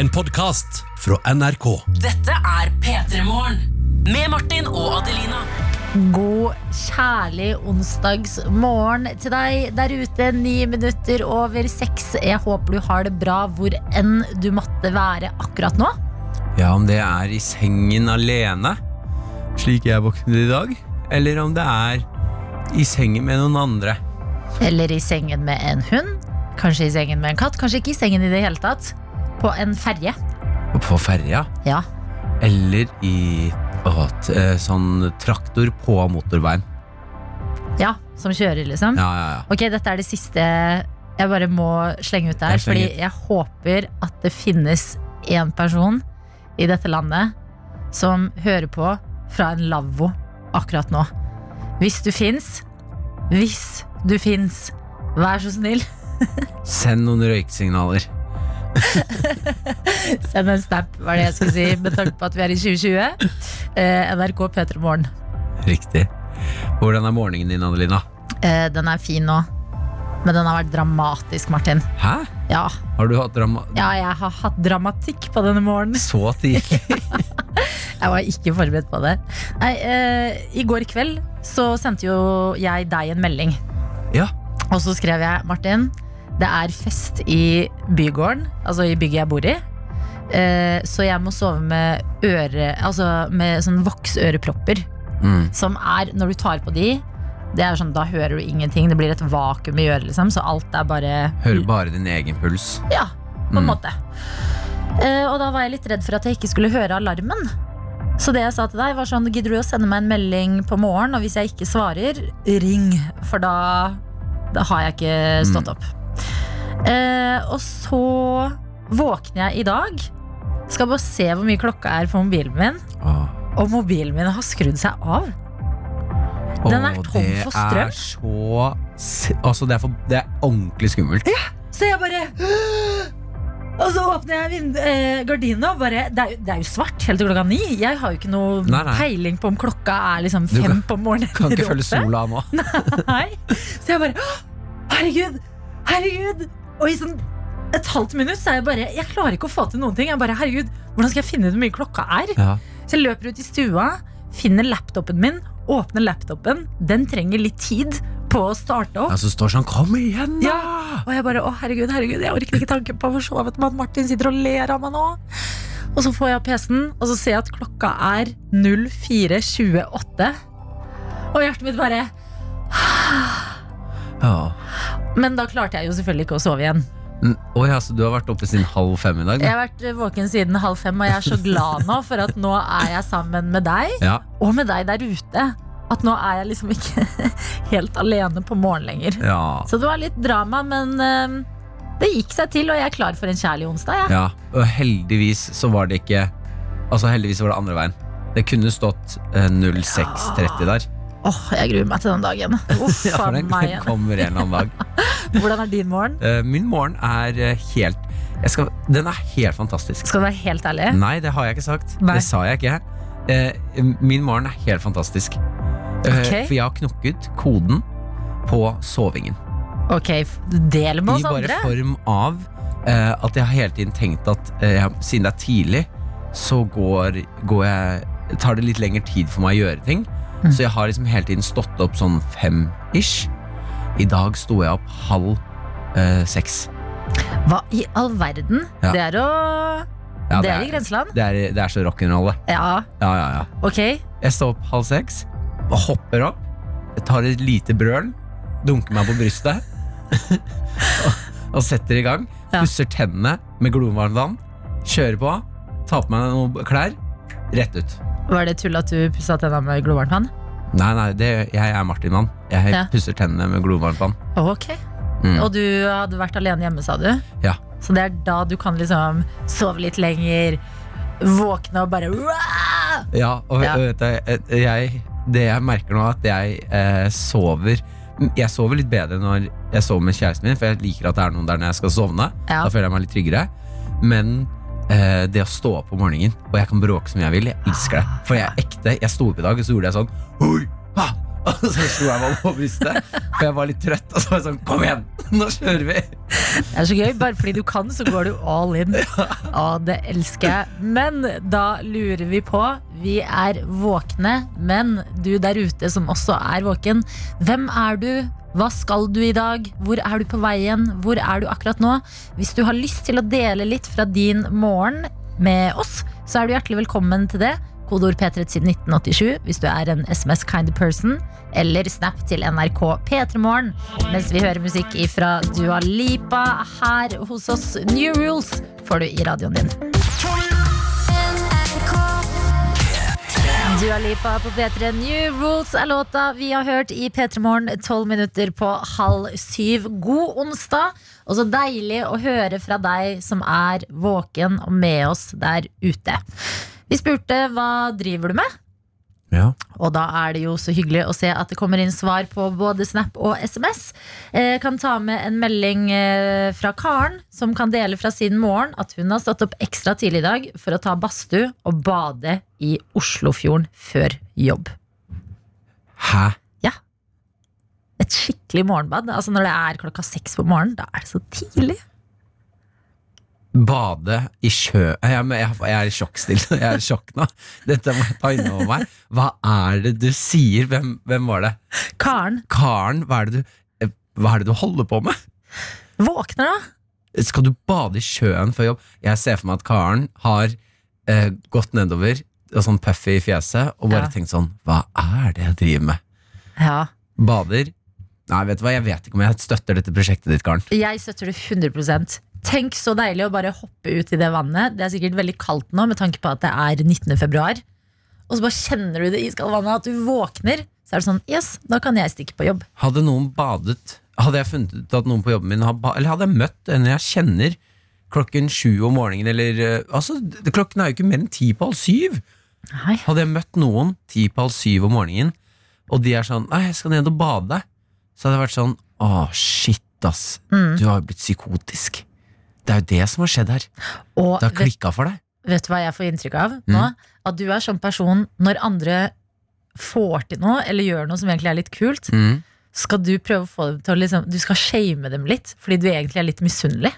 En podkast fra NRK. Dette er P3 Morgen. Med Martin og Adelina. God, kjærlig onsdagsmorgen til deg der ute. Ni minutter over seks. Jeg håper du har det bra hvor enn du måtte være akkurat nå. Ja, om det er i sengen alene, slik jeg våknet i dag, eller om det er i sengen med noen andre. Eller i sengen med en hund. Kanskje i sengen med en katt. Kanskje ikke i sengen i det hele tatt. På en ferje. Og på ferja. Ja. Eller i å, t- eh, sånn traktor på motorveien. ja. Som kjører, liksom. Ja, ja, ja. Ok, dette er det siste jeg bare må slenge ut der. Jeg slenger Fordi ut. jeg håper at det finnes én person i dette landet som hører på fra en lavvo akkurat nå. Hvis du fins, hvis du fins, vær så snill, Send noen røyksignaler. send en snap, var det jeg skulle si, med tanke på at vi er i 2020. Eh, NRK P3 Morgen. Riktig. Hvordan er morgenen din, Adelina? Eh, den er fin nå, men den har vært dramatisk, Martin. Hæ? Ja, Har du hatt drama... ja jeg har hatt dramatikk på denne morgenen. Så tidlig? Jeg var ikke forberedt på det. Nei, eh, I går kveld så sendte jo jeg deg en melding. Ja. Og så skrev jeg, Martin, det er fest i bygården, altså i bygget jeg bor i. Eh, så jeg må sove med øre, altså med sånn voksørepropper. Mm. Som er, når du tar på de, det er sånn, da hører du ingenting. Det blir et vakuum i øret, liksom. Så alt er bare Hører bare din egen puls. ja, på en Mm. måte. Eh, og da var jeg litt redd for at jeg ikke skulle høre alarmen. Så det jeg sa til deg, var sånn Gidder du å sende meg en melding på morgen? Og hvis jeg ikke svarer, ring. For da, da har jeg ikke stått opp. Eh, og så våkner jeg i dag. Skal bare se hvor mye klokka er på mobilen min. Åh. Og mobilen min har skrudd seg av. Den er Åh, tom for strøm. Det er så s- Altså, det er, for, det er ordentlig skummelt. Så jeg bare Og så åpner jeg vind- eh, gardina og bare det er, jo- det er jo svart helt til klokka ni. Jeg har jo ikke noe Nei, nei. peiling på om klokka er liksom Du fem kan- på morgenen. Kan ikke eller følge åtte. sola nå. Nei. Så jeg bare «Åh, Herregud! Herregud! Og i sånn et halvt minutt så er jeg bare Jeg klarer ikke å få til noen ting. Jeg bare, herregud, Hvordan skal jeg finne ut hvor mye klokka er? Ja. Så jeg løper ut i stua, finner laptopen min, åpner laptopen. Den trenger litt tid på å starte opp. Ja, så står sånn Kom igjen, da! Og jeg bare, å herregud, herregud, jeg orker ikke tanken på å få sovet med at Martin sitter og ler av meg nå. Og så får jeg PC-en, og så ser jeg at klokka er 04.28. Og hjertet mitt bare Ja. Men da klarte jeg jo selvfølgelig ikke å sove igjen. N- Oi, ja, så du har vært oppe siden halv fem i dag? Jeg da? har vært eh, våken siden halv fem, og jeg er så glad nå for at nå er jeg sammen med deg, Ja. og med deg der ute. At nå er jeg liksom ikke helt alene på morgenen lenger. Ja. Så det var litt drama, men eh, det gikk seg til, og jeg er klar for en kjærlig onsdag. Jeg. ja. Og heldigvis så var det ikke Altså, heldigvis var det andre veien. Det kunne stått eh, 06.30 der. Åh, jeg gruer meg til den dagen. Uff, Ja, for faen den meg. kommer en eller annen dag. Hvordan er din morgen? Eh, Min morgen er eh, helt jeg skal, Den er helt fantastisk. Skal du være helt ærlig? Nei, det har jeg ikke sagt. Nei. Det sa jeg ikke. Eh, Min morgen er helt fantastisk. Eh, Ok. For jeg har knokket koden på sovingen. Ok, f- del med I oss bare andre. form av eh, at jeg har hele tiden tenkt at eh, jeg- siden det er tidlig, så går, går jeg tar det litt lengre tid for meg å gjøre ting. Mm. Så jeg har liksom hele tiden stått opp sånn fem-ish. I dag sto jeg opp halv eh, seks. Hva i all verden? Ja. Det er å Ja, det, det er er- i grenseland. Det er, det er så rock'n'roll, det. Ja, Ja, ja, ja. ok. Jeg står opp halv seks, hopper opp, jeg tar et lite brøl, dunker meg på brystet og, og setter i gang. Ja. Pusser tennene med glovarmt vann, kjører på, tar på meg noen klær, rett ut. Var det tull at du pussa tenna med glovarmt vann? Nei, nei, det, jeg er Martin-mann. Jeg Ja. pusser tennene med glovarmt vann. Ok. Mm. Og du hadde vært alene hjemme, sa du? Ja. Så det er da du kan liksom sove litt lenger, våkne og bare «Wah!» Ja, og Ja. og vet du, jeg, det jeg merker nå, er at jeg eh, sover Jeg sover litt bedre når jeg sover med kjæresten min, for jeg liker at det er noen der når jeg skal sovne. Ja. Da føler jeg meg litt tryggere. Men eh, det å stå opp om morgenen, og jeg kan bråke som jeg vil, jeg elsker det. For jeg er ekte. Jeg sto opp i dag, og så gjorde jeg sånn Oi, ah, Og så slo jeg meg på brystet, for jeg var litt trøtt. Og så var jeg sånn Kom igjen, nå kjører vi! Det er så gøy. Bare fordi du kan, så går du all in. Å, det elsker jeg. Men da lurer vi på Vi er våkne, men du der ute som også er våken, hvem er du? Hva skal du i dag? Hvor er du på veien? Hvor er du akkurat nå? Hvis du har lyst til å dele litt fra din morgen med oss, så er du hjertelig velkommen til det. Kodeord P3 til 1987 hvis du er en SMS kind of person. Eller snap til NRK P3morgen mens vi hører musikk ifra Dua Lipa her hos oss. New Rules får du i radioen din. Dua Lipa på P3 New Rules er låta vi har hørt i P3 Morgen. Tolv minutter på halv syv. God onsdag. Og så deilig å høre fra deg som er våken og med oss der ute. Vi spurte hva driver du med, Ja. og da er det jo så hyggelig å se at det kommer inn svar på både Snap og SMS. Eh, kan ta med en melding eh, fra Karen, som kan dele fra sin morgen at hun har stått opp ekstra tidlig i dag for å ta badstue og bade i Oslofjorden før jobb. Hæ? Et skikkelig morgenbad. Altså Når det er klokka seks på morgenen, da er det så tidlig. Bade i sjø Jeg, men jeg, jeg er i sjokkstille. Jeg er i sjokk nå. Dette må jeg ta innover meg. Hva er det du sier? Hvem, hvem var det? Karen Karen, hva er det du eh, hva er det du holder på med? våkner da. Skal du bade i sjøen før jobb? Jeg ser for meg at Karen har eh, gått nedover og sånn puffy i fjeset og bare Ja. tenkt sånn Hva er det jeg driver med? Ja. Bader? Nei, vet du hva, jeg vet ikke om jeg støtter dette prosjektet ditt, Karen. Jeg støtter det 100 Tenk så deilig å bare hoppe ut i det vannet. Det er sikkert veldig kaldt nå med tanke på at det er 19. februar. Og så bare kjenner du det iskalde vannet, at du våkner. Så er det sånn Yes, da kan jeg stikke på jobb. Hadde noen badet Hadde jeg funnet ut at noen på jobben min har ba Eller hadde jeg møtt en jeg kjenner klokken sju om morgenen, eller eh, Altså, d- klokken er jo ikke mer enn ti på halv syv. Nei. Hadde jeg møtt noen ti på halv syv om morgenen, og de er sånn Nei, jeg skal ned og bade. Så hadde jeg vært sånn Å, shit, ass. Mm. Du har jo blitt psykotisk. Det er jo det som har skjedd her. Og Det har vet, klikka for deg. vet du hva jeg får inntrykk av nå? Mm. At du er sånn person når andre får til noe, eller gjør noe som egentlig er litt kult, Mm. skal du prøve å få dem til å liksom Du skal shame dem litt, fordi du egentlig er litt misunnelig.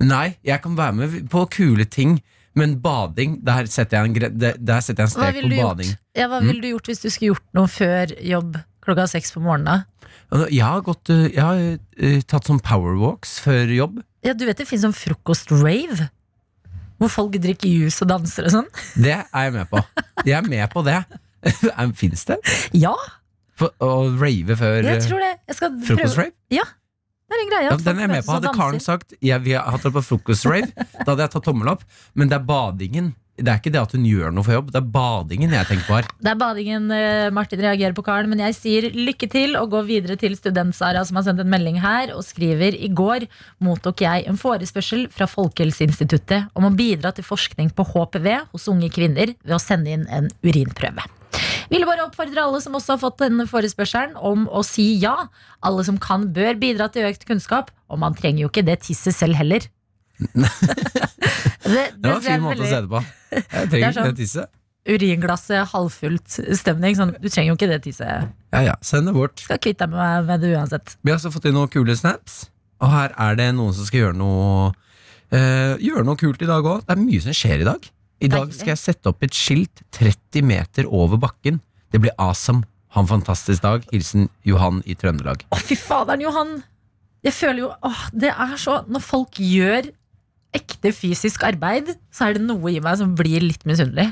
Nei, jeg kan være med på kule ting, men bading Der setter jeg en, gre- der- der setter jeg en Hva strek ville på du, gjort? bading. Mm. Ja, hva ville du gjort hvis du skulle gjort noe før jobb klokka seks på morgenen? da? Jeg har, gått, eh, jeg har eh, tatt sånn powerwalks før jobb. Ja, du vet det finnes sånn frokost-rave Hvor folk drikker juice og danser og sånn Det er jeg med på. Jeg er med på det. Fins det? Ja, For, å rave før jeg eh, tror det Jeg skal prøve frokostrave? Det er en greie Ja, at den er jeg med folk på. Hadde møtes og Karen danser. sagt jeg vil ha tatt på frokostrave, da hadde jeg tatt tommel opp. Men det er badingen. Det er ikke det at hun gjør noe for jobb, det er badingen jeg tenker på her. Det er badingen eh, Martin reagerer på Karen Men jeg sier lykke til og gå videre til student Sara Som har sendt en melding her og skriver I går mottok jeg en forespørsel fra Folkehelseinstituttet Om å bidra til forskning på HPV hos unge kvinner Ved å sende inn en urinprøve Ville bare oppfordre alle som også har fått denne forespørselen om å si ja. Alle som kan bør bidra til økt kunnskap, og man trenger jo ikke det tisset selv heller. det, Det var en fin måte å se veldig det på. Jeg Det er trenger sånn- ikke det tisset. uringlasset halvfullt stemning. Sånn, du trenger jo ikke det tisset. Ja, ja, send det bort. Skal kvitte deg med, med det uansett. Vi har også fått inn noen kule snaps, og her er det noen som skal gjøre noe eh, Gjøre noe kult i dag òg. Det er mye som skjer i dag. I dag Deilig. skal jeg sette opp et skilt 30 meter over bakken. Det blir awesome. Ha en fantastisk dag. Hilsen Johan i Trøndelag. Å, fy faderen, Johan! Jeg føler jo åh, Det er så Når folk gjør ekte fysisk arbeid, så er det noe i meg som blir litt misunnelig.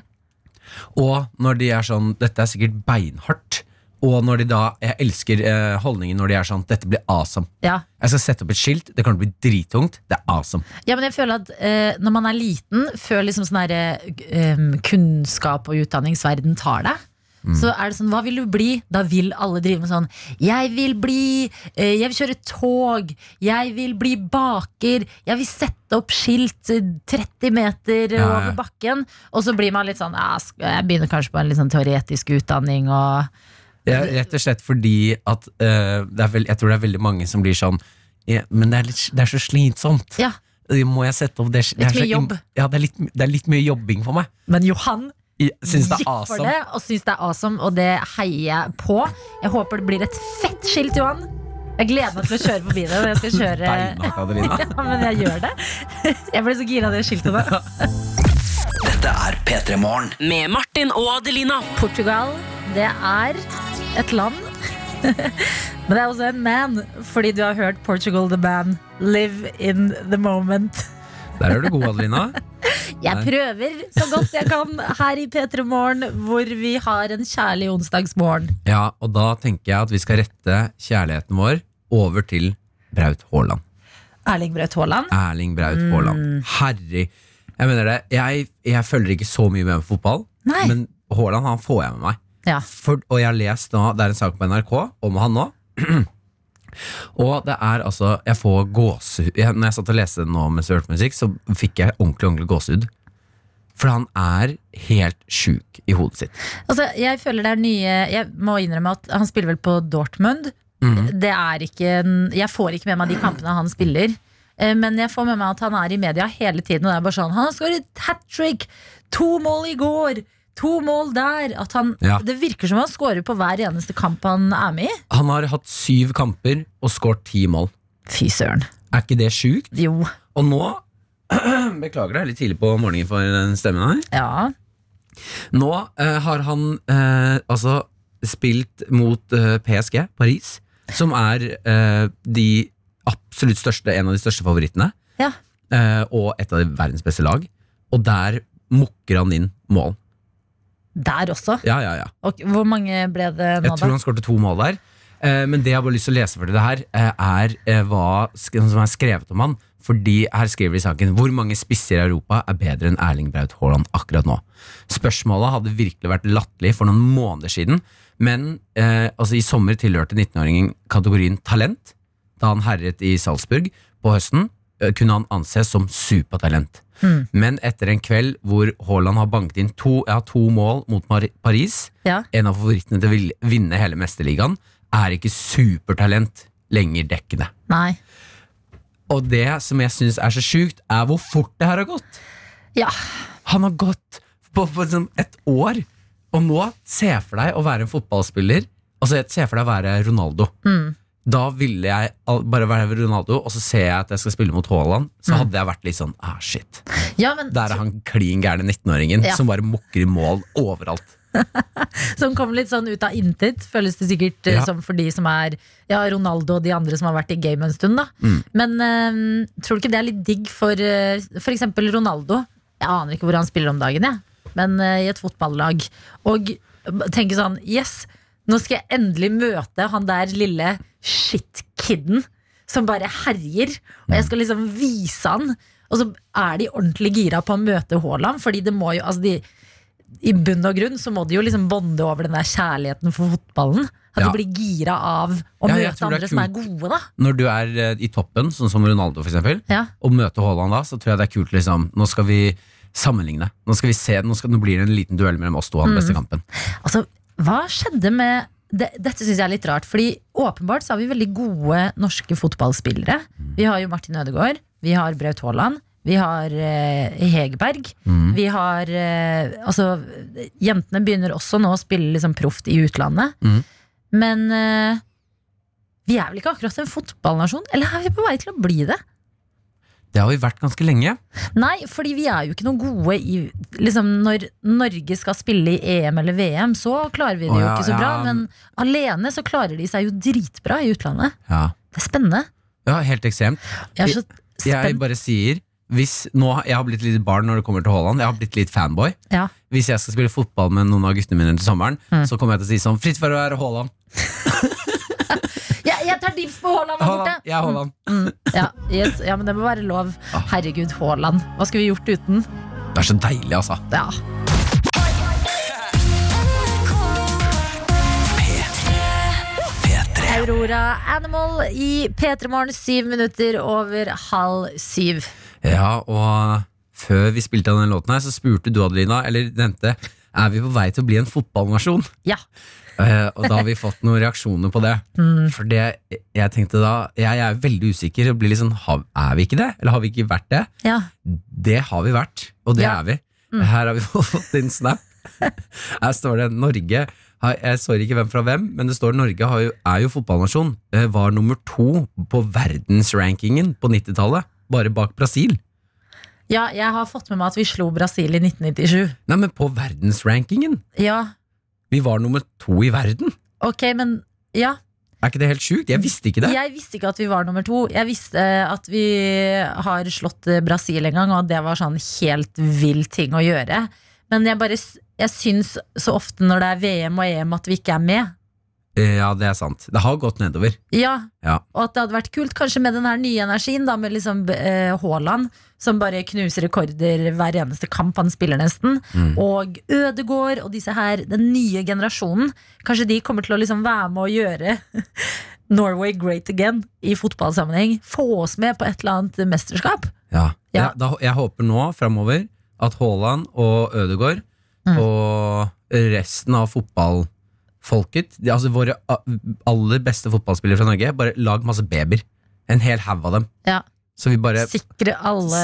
Og når de er sånn Dette er sikkert beinhardt. Og når de da Jeg elsker eh, holdningen når de er sånn Dette blir awesome. Ja. Jeg skal sette opp et skilt. Det kan bli drittungt. Det er awesome. ja, men jeg føler at eh, når man er liten, før liksom sånn her, eh, em, kunnskap og utdanningsverden tar deg, Mm. så er det sånn Hva vil du bli? Da vil alle drive med sånn Jeg vil bli eh, Jeg vil kjøre tog. Jeg vil bli baker. Jeg vil sette opp skilt eh, 30 meter eh, Ja, ja. over bakken. Og så blir man litt sånn «Ah, sk- Jeg begynner kanskje på en litt sånn teoretisk utdanning og Ja, rett og slett fordi at eh, det er vel, Jeg tror det er veldig mange som blir sånn ja, Men det er, litt, det er så slitsomt. Ja. Må jeg sette opp det, sk- det Litt er så mye im- jobb. Ja, det er, litt, det er litt mye jobbing for meg. Men Johan, Jeg Syns det gikk er for awesome. det, og syns det er awesome, og det heier jeg på. Jeg håper det blir et fett skilt, Johan. Jeg gleder meg til å kjøre forbi det. når Jeg skal kjøre Deilig, Katarina. Ja, men jeg gjør det. Jeg ble så gira av det skiltet der. Dette er P3 Morgen. Med Martin og Adelina. Portugal, det er et land. Men det er også en man, fordi du har hørt Portugal the Man. Live in the moment. Der er du god, Adelina. Jeg Nei. prøver så godt jeg kan her i P3 Morgen, hvor vi har en kjærlig onsdagsmorgen. Ja, og da tenker jeg at vi skal rette kjærligheten vår over til Braut Haaland. Erling Braut Haaland. Erling Braut Mm. Haaland. Herre Jeg mener det, jeg, jeg følger ikke så mye med på fotball, Nei. men Haaland han får jeg med meg. Ja. For, og jeg har lest nå, det er en sak på NRK om han nå. og det er altså Jeg får gåsehud jeg, Når jeg satt og leste den nå mens jeg hørte musikk, så fikk jeg ordentlig ordentlig gåsehud. For han er helt sjuk i hodet sitt. Altså, jeg føler det er nye Jeg må innrømme at han spiller vel på Dortmund. Mhm. Det er ikke en- Jeg får ikke med meg de kampene han spiller. Eh, Men jeg får med meg at han er i media hele tiden. Og det er bare sånn Han har skåret hat trick! To mål i går! To mål der! At han, Ja. Det virker som han scorer på hver eneste kamp han er med i. Han har hatt syv kamper og skåret ti mål. Fy søren. Er ikke det sjukt? Jo. Og nå Beklager, det er litt tidlig på morgenen for den stemmen her. Ja. Nå eh, har han eh, altså spilt mot eh, PSG, Paris, som er eh, de absolutt største, en av de største favorittene, Ja. eh, og et av de verdens beste lag. Og der mukker han inn mål. Der også. Ja, ja, ja. Og hvor mange ble det Jeg nå, tror da? han skårte to mål der. Eh, men det jeg har bare lyst til å lese for dere her, eh, er eh, hva sk- som er skrevet om han. Fordi her skriver de i saken hvor mange spisser i Europa er bedre enn Erling Braut Haaland akkurat nå. Spørsmålet hadde virkelig vært latterlig for noen måneder siden, men eh, altså i sommer tilhørte 19-åringen kategorien talent. Da han herjet i Salzburg på høsten, eh, kunne han anses som supertalent. Mm. Men etter en kveld hvor Haaland har banket inn to, ja, to mål mot Mar Paris, Ja. en av favorittene til å vil- vinne hele mesterligaen, er ikke supertalent lenger dekkende. Nei. Og det som jeg syns er så sjukt, er hvor fort det her har gått. Ja. Han har gått på, på liksom et år. Og nå, se for deg å være en fotballspiller. Altså, jeg- se for deg å være Ronaldo. Mm. Da ville jeg al- bare være Ronaldo, og så ser jeg at jeg skal spille mot Haaland. Så hadde jeg vært litt sånn ah, shit. ja men, Der er han klin gærne 19-åringen Ja. som bare mukker i mål overalt. Som kom litt sånn ut av intet, føles det sikkert eh, Ja. som for de som er ja, Ronaldo og de andre som har vært i game en stund. Da. Men eh, tror du ikke det er litt digg for eh, for eksempel Ronaldo? Jeg aner ikke hvor han spiller om dagen, jeg. men eh, i et fotballag. Og b- tenke sånn Yes, nå skal jeg endelig møte han der lille shitkiden som bare herjer. Og jeg skal liksom vise han. Og så er de ordentlig gira på å møte Haaland, fordi det må jo altså de, i bunn og grunn så må de jo liksom bonde over den der kjærligheten for fotballen. At Ja. de blir gira av å Ja, jeg møte tror det er andre som er kult. gode, da. Når du er eh, i toppen, sånn som Ronaldo for eksempel, Ja. og møter Haaland da, så tror jeg det er kult liksom, nå skal vi sammenligne. Nå skal vi se, nå, skal, nå blir det en liten duell mellom oss to og den beste kampen. Altså, hva skjedde med det, Dette syns jeg er litt rart, fordi åpenbart så har vi veldig gode norske fotballspillere. Vi har jo Martin Ødegaard, vi har Braut Haaland, vi har eh, Hegerberg. Mm. Vi har eh, Altså, jentene begynner også nå å spille liksom proft i utlandet. Mm. Men eh, vi er vel ikke akkurat en fotballnasjon? Eller er vi på vei til å bli det? Det har vi vært ganske lenge. Nei, fordi vi er jo ikke noe gode i liksom Når Norge skal spille i EM eller VM, så klarer vi det Å, jo ja, ikke så bra. ja. Men alene så klarer de seg jo dritbra i utlandet. Ja, Det er spennende. ja helt ekstremt. Jeg er så Jeg spent. bare sier, hvis nå, jeg har blitt litt barn når det kommer til Haaland, jeg har blitt litt fanboy. Ja. Mm. Hvis jeg skal spille fotball med noen av guttene mine til sommeren, så kommer jeg til å si sånn, fritt for å være Haaland. Jeg, jeg tar dips på Haaland der Haaland, Ah. borte! jeg er Haaland. Ja, yes, ja, men det må være lov. Herregud, Haaland. Hva skulle vi gjort uten? Det er så deilig, altså. Ja. Aurora Animal i P3 Morgen, syv minutter over halv syv. Ja, og før vi spilte av den låten her, så spurte du, Adelina, eller nevnte, er vi på vei til å bli en fotballnasjon? Ja. Eh, og da har vi fått noen reaksjoner på det. For det jeg tenkte da Jeg, jeg er veldig usikker. Og blir litt sånn, har, er vi ikke det? Eller har vi ikke vært det? ja. Det har vi vært, og det Ja. er vi. Her har vi fått inn snap Her står det Norge har- Jeg så ikke hvem fra hvem, men det står Norge har jo, er jo fotballnasjon. eh, Var nummer to på verdensrankingen på 90-tallet, bare bak Brasil. Ja, jeg har fått med meg at vi slo Brasil i 1997. Nei, men på verdensrankingen! Ja, Vi var nummer to i verden! ok, men ja. Er ikke det helt sjukt? Jeg visste ikke det. Jeg visste ikke at vi var nummer to. Jeg visste eh, at vi har slått eh, Brasil en gang, og at det var sånn helt vill ting å gjøre. Men jeg bare s- Jeg syns så ofte når det er VM og EM at vi ikke er med. Eh, Ja, det er sant. Det har gått nedover. Ja, Ja. Og at det hadde vært kult, kanskje med den her nye energien, da, med liksom eh, Haaland, som bare knuser rekorder hver eneste kamp han spiller, nesten. Og Ødegård og disse her, den nye generasjonen. Kanskje de kommer til å liksom være med å gjøre Norway great again i fotballsammenheng. Få oss med på et eller annet mesterskap. Ja. Ja. Jeg, da, jeg håper nå framover at Haaland og Ødegaard Mm. og resten av fotballfolket, de, altså våre a- aller beste fotballspillere fra Norge, bare lag masse babyer. En hel haug av dem. Ja. Så vi bare Sikre alle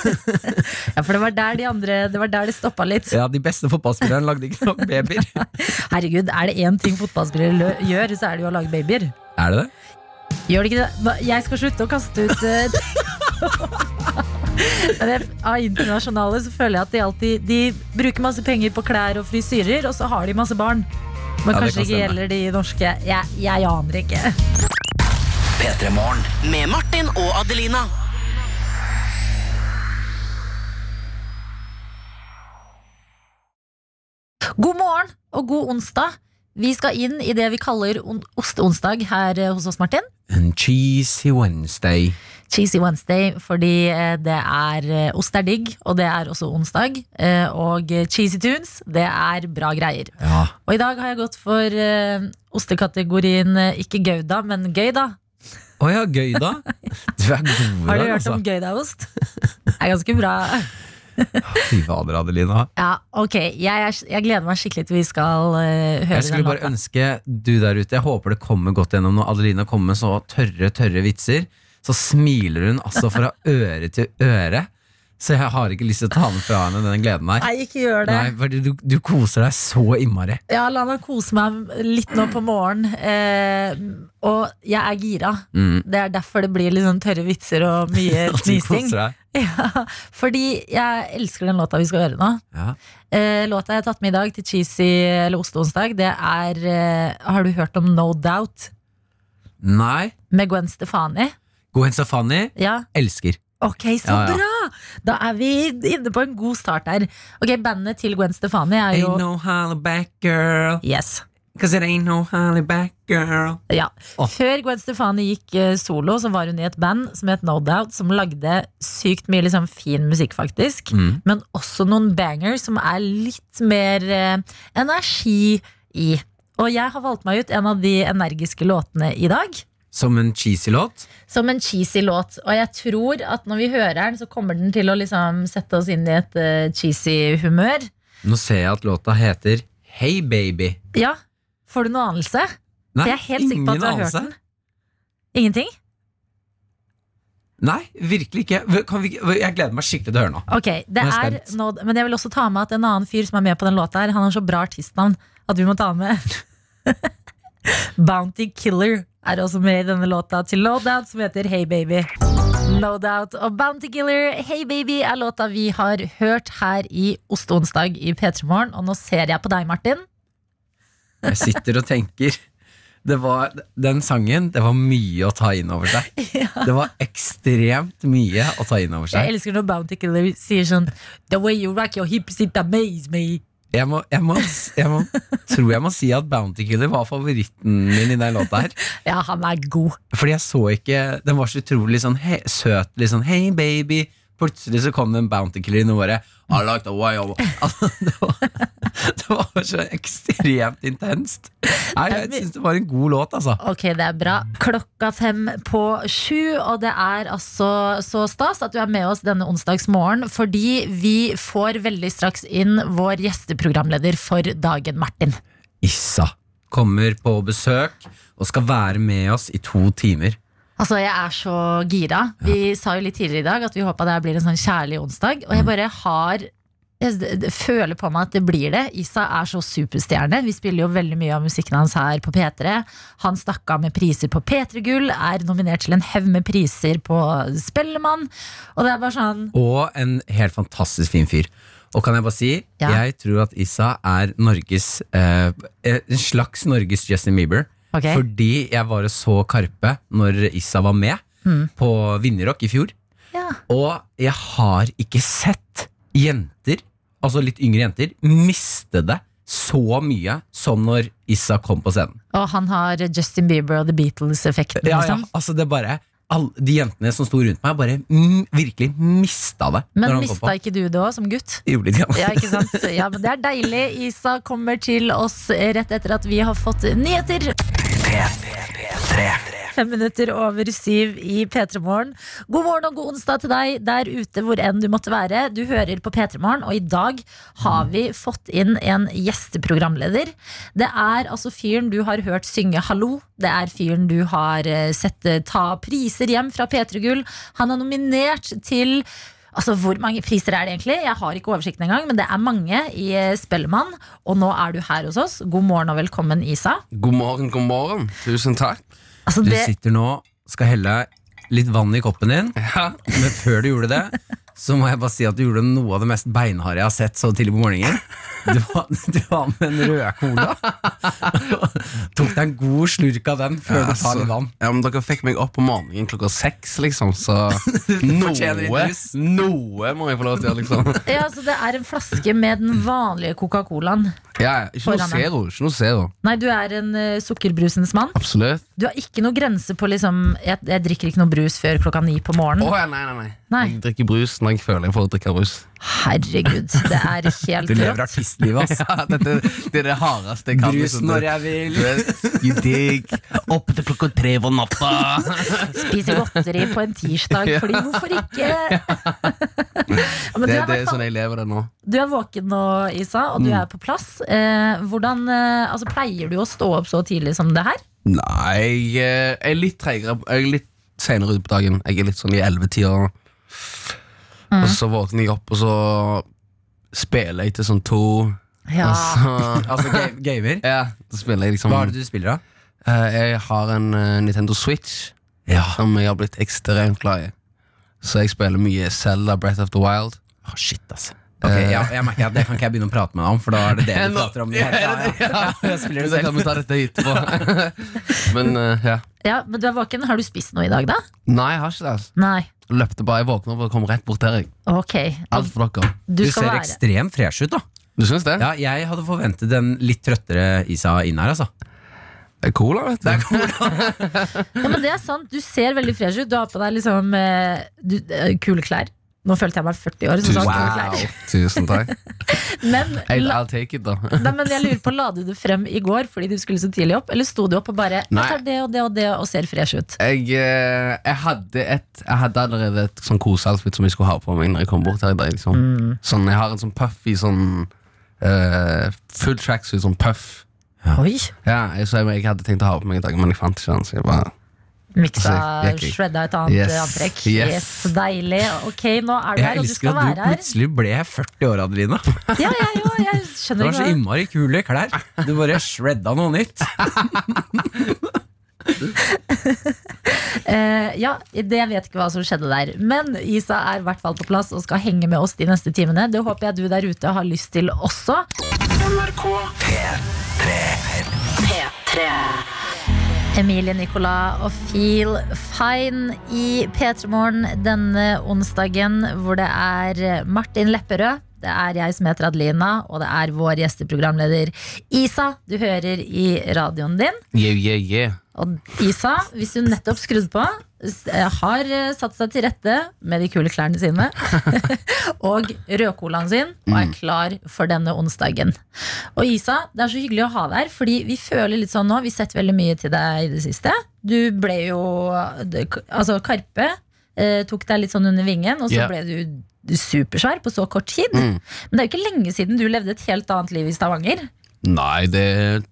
Ja, for det var der de andre Det var der det stoppa litt. Ja, de beste fotballspillerne lagde ikke nok babyer. Herregud, er det én ting fotballspillere lø- gjør, så er det jo å lage babyer. er det det? Gjør det ikke det? Hva- Jeg skal slutte å kaste ut eh, Men jeg, Av internasjonale så føler jeg at de alltid De bruker masse penger på klær og frisyrer, og så har de masse barn. Ja, det Men kanskje kan ikke stemme. gjelder de norske. Jeg, jeg aner ikke. P3 Morgen. Med Martin og Adelina. God morgen og god onsdag. Vi skal inn i det vi kaller on- osteonsdag her eh, hos oss, Martin. En cheesy Wednesday. Cheesy Wednesday, fordi eh, det er eh, ost er digg, og det er også onsdag. Eh, Og eh, cheesy tunes, det er bra greier. Ja. Og i dag har jeg gått for eh, ostekategorien eh, ikke Gouda, men gøy, da. Å ja, gøy da. Du er god i Har du dag, hørt altså. om Goudaost? Det er ganske bra. Fy fader, Adelina. Ja, ok, jeg, er, jeg gleder meg skikkelig til vi skal eh, høre Jeg skulle den bare låta. ønske du der ute Jeg håper det kommer godt gjennom når Adelina kommer med så tørre, tørre vitser. Så smiler hun altså fra øre til øre. Så jeg har ikke lyst til å ta den fra henne, den gleden her. Nei, ikke gjør det. Nei, fordi du, du koser deg så innmari. Ja, la meg kose meg litt nå på morgenen. Eh, og jeg er gira. Mm. Det er derfor det blir litt sånn tørre vitser og mye At du fnising. koser deg. Ja, fordi jeg elsker den låta vi skal høre nå. Ja. Eh, låta jeg har tatt med i dag til Cheesy eller Osteonsdag, det er eh, Har du hørt om No Doubt Nei. med Gwen Stefani? Gohen Safani Ja, elsker. ok, så Ja, ja. bra! Da er vi inne på en god start her. Ok, Bandet til Gwen Stefani er jo Ain't no holly back girl, Yes. cause it ain't no holly back girl. Ja. Åh. Før Gwen Stefani gikk eh, solo, så var hun i et band som het No Doubt, som lagde sykt mye liksom, fin musikk, faktisk. Mm. Men også noen bangers som er litt mer eh, energi i. Og jeg har valgt meg ut en av de energiske låtene i dag. Som en cheesy låt. Som en cheesy låt. Og jeg tror at når vi hører den, så kommer den til å liksom sette oss inn i et eh, cheesy humør. Nå ser jeg at låta heter Hey Baby. Ja, Får du noe anelse? Nei, jeg er helt sikker på at ingen du har hørt anelse. den. Ingenting? Nei, virkelig ikke. Kan vi, ikke- jeg gleder meg skikkelig til å høre nå. Ok, det Nå er er jeg spent. nå, Men jeg vil også ta med at en annen fyr som er med på den låta her, han har så bra artistnavn at vi må ta med. Bounty Killer er også med i denne låta til No Doubt, som heter Hey Baby. No Doubt og Bounty Killer, Hey Baby, er låta vi har hørt her i Osteonsdag i P3 Morgen. Og nå ser jeg på deg, Martin. Jeg sitter og tenker. Det var, den sangen det var mye å ta inn over seg. Det var ekstremt mye å ta inn over Jeg seg. elsker når Bounty Killer sier sånn The way you rock your hips, it amaze me. Jeg, må, jeg, må, jeg må, tror jeg må si at Bounty Killer var favoritten min i den låta her. Ja, han er god. Fordi jeg så ikke Den var så utrolig sånn he, søt. Litt sånn hey baby. Plutselig så kom det en Bounty Killer inn og bare I like the way of altså, det, var, det var så ekstremt intenst. Nei, jeg syns det var en god låt, altså. Ok, det er bra. Klokka fem på sju, og det er altså så stas at du er med oss denne onsdagsmorgen, fordi vi får veldig straks inn vår gjesteprogramleder for dagen, Martin. Issa kommer på besøk og skal være med oss i to timer. Altså, jeg er så Mm. gira. Vi sa jo litt tidligere i dag at vi håpa det her blir en sånn kjærlig onsdag, og jeg bare har Jeg s- d- føler på meg at det blir det. Issa er så superstjerne. Vi spiller jo veldig mye av musikken hans her på P3. Han stakk av med priser på P3 Gull, er nominert til en haug med priser på Spellemann. Og det er bare sånn Og en helt fantastisk fin fyr. Og kan jeg bare si, Ja. jeg tror at Issa er Norges eh, En slags Norges Justin Bieber. Ok. Fordi jeg var og så Karpe når Issa var med Mm. på Vinjerock i fjor. Ja. Og jeg har ikke sett jenter, altså litt yngre jenter, miste det så mye som når Issa kom på scenen. Og han har Justin Bieber og The Beatles-effekten, Ja, ja, liksom. altså det er bare all, De jentene som sto rundt meg, bare mm, virkelig mista det. når Men han kom på. mista ikke du det òg, som gutt? Jo, litt grann. Ja, ikke sant? Ja, men det er deilig. Isa kommer til oss rett etter at vi har fått nyheter. Fem minutter over syv i P3 Morgen. God morgen og god onsdag til deg der ute hvor enn du måtte være. Du hører på P3 Morgen, og i dag har vi fått inn en gjesteprogramleder. Det er altså fyren du har hørt synge 'Hallo'. Det er fyren du har eh, sett eh, ta priser hjem fra P3 Gull. Han er nominert til Altså, Hvor mange priser er det egentlig? Jeg har ikke oversikten engang, men det er mange i eh, Spellemann. Og nå er du her hos oss. God morgen og velkommen, Isa. God morgen, god morgen. Tusen takk. Altså, Du det, sitter nå skal helle litt vann i koppen din, Ja, men før du gjorde det, så må jeg bare si at du gjorde noe av det mest beinharde jeg har sett så tidlig på morgenen. Du var, du var med en rød cola. Tok deg en god slurk av den før du tar litt vann. ja, men Dere fikk meg opp om morgenen klokka seks, liksom, så fortjener noe, litt rus. noe må jeg få lov til å gjøre, liksom. ja, altså, det er en flaske med den vanlige Coca-Colaen. Ja, ja, ikke noe Foran meg. zero. ikke noe zero. Nei, du er en eh, sukkerbrusens mann. Absolutt. Du har ikke noe grense på liksom jeg, jeg drikker ikke noe brus før klokka ni på Å morgenen. ja, nei, nei, nei. Nei. Jeg drikker brus når jeg føler jeg får drikke brus. Herregud, det er helt Du lever rått. artistlivet, ass. Ja, dette, det er det hardeste jeg kan. liksom Brus når jeg vil. Gi deg oppe til klokka tre på natta. Spiser godteri på en tirsdag, fordi hvorfor ikke? Ja, Men du er i Det, det hvert er fall sånn jeg lever det nå. Du er våken nå, Isa, og du er på plass. Eh, hvordan, eh, altså, pleier du å stå opp så tidlig som det her? Nei, jeg eh, er litt treigere Jeg er litt senere ute på dagen Jeg er litt sånn i 11-tida Og så våkner jeg opp Og så spiller jeg til sånn to Og så Altså ga- gamer. ja, da spiller jeg liksom Hva er det du spiller, da? Eh, Jeg har en eh, Nintendo Switch Ja. Som jeg har blitt ekstremt glad i Så jeg spiller mye Zelda Breath of the Wild Å, Ah, shit, altså. ass. Ok, ja, jeg merker at Det kan ikke jeg begynne å prate med deg om, for da er det det Ja, du nå- prater om. i Ja, hele- er det det? Ja, ja. Jeg spiller det Så kan selv. vi ta dette etterpå Men eh, ja Ja, men du er våken. Har du spist noe i dag, da? Nei, jeg har ikke det altså. Nei. Løpte bare, jeg våkner opp og kom rett bort til deg Ok. Alt for dere Du Du skal ser være ekstremt fresh ut, da. Du synes det? Ja, jeg hadde forventet en litt trøttere Isa inn her, altså. Det er cola, vet du Ja, men det er sant. Du ser veldig fresh ut. Du har på deg liksom eh, du, eh, kule klær. Nå følte jeg meg 40 år. Så sa jeg kule klær. Tusen takk. Men, I'll, la, I'll take it, da. nei, men jeg lurer på, la du det frem i går fordi du skulle så tidlig opp? Eller sto du opp og bare Jeg Nei. tar det og det og det og ser fresh ut? Jeg, eh, jeg, hadde et, jeg hadde allerede et sånn koseoutfit som jeg skulle ha på meg når jeg kom bort her i dag. Liksom. Sånn, jeg har en sånn puffy sånn eh, Full tracksuit, sånn puff. Oi! Ja, jeg, så jeg, jeg hadde tenkt å ha på meg i dag, men jeg fant ikke den. Så jeg bare, Miksa, Altså, jeg- jeg- shredda et annet Yes, eh, antrekk. yes. Yes. Deilig. Ok, nå er du Jeg her, og du elsker skal at du være her. plutselig ble 40 år, Adelina. Du Ja, ja, jo, jeg skjønner har så ikke hva- innmari kule klær. Du bare shredda noe nytt. Eh, ja, det jeg vet ikke hva som skjedde der. Men Isa er i hvert fall på plass og skal henge med oss de neste timene. Det håper jeg du der ute har lyst til også. Emilie Nicolas og Feel Fine i P3 Morgen denne onsdagen, hvor det er Martin Lepperød. Det er jeg som heter Adelina, og det er vår gjesteprogramleder Isa du hører i radioen din. yeah, yeah, yeah. Og Isa, hvis hun nettopp skrudde på, s- eh, har eh, satt seg til rette med de kule klærne sine og rødcolaen sin og Mm. er klar for denne onsdagen. Og Isa, det er så hyggelig å ha deg her, fordi vi føler litt sånn nå, vi har sett veldig mye til deg i det siste. Du ble jo det- Altså, Karpe eh, tok deg litt sånn under vingen, og så Ja. ble du supersvær på så kort tid. Mm. Men det er jo ikke lenge siden du levde et helt annet liv i Stavanger. Nei, det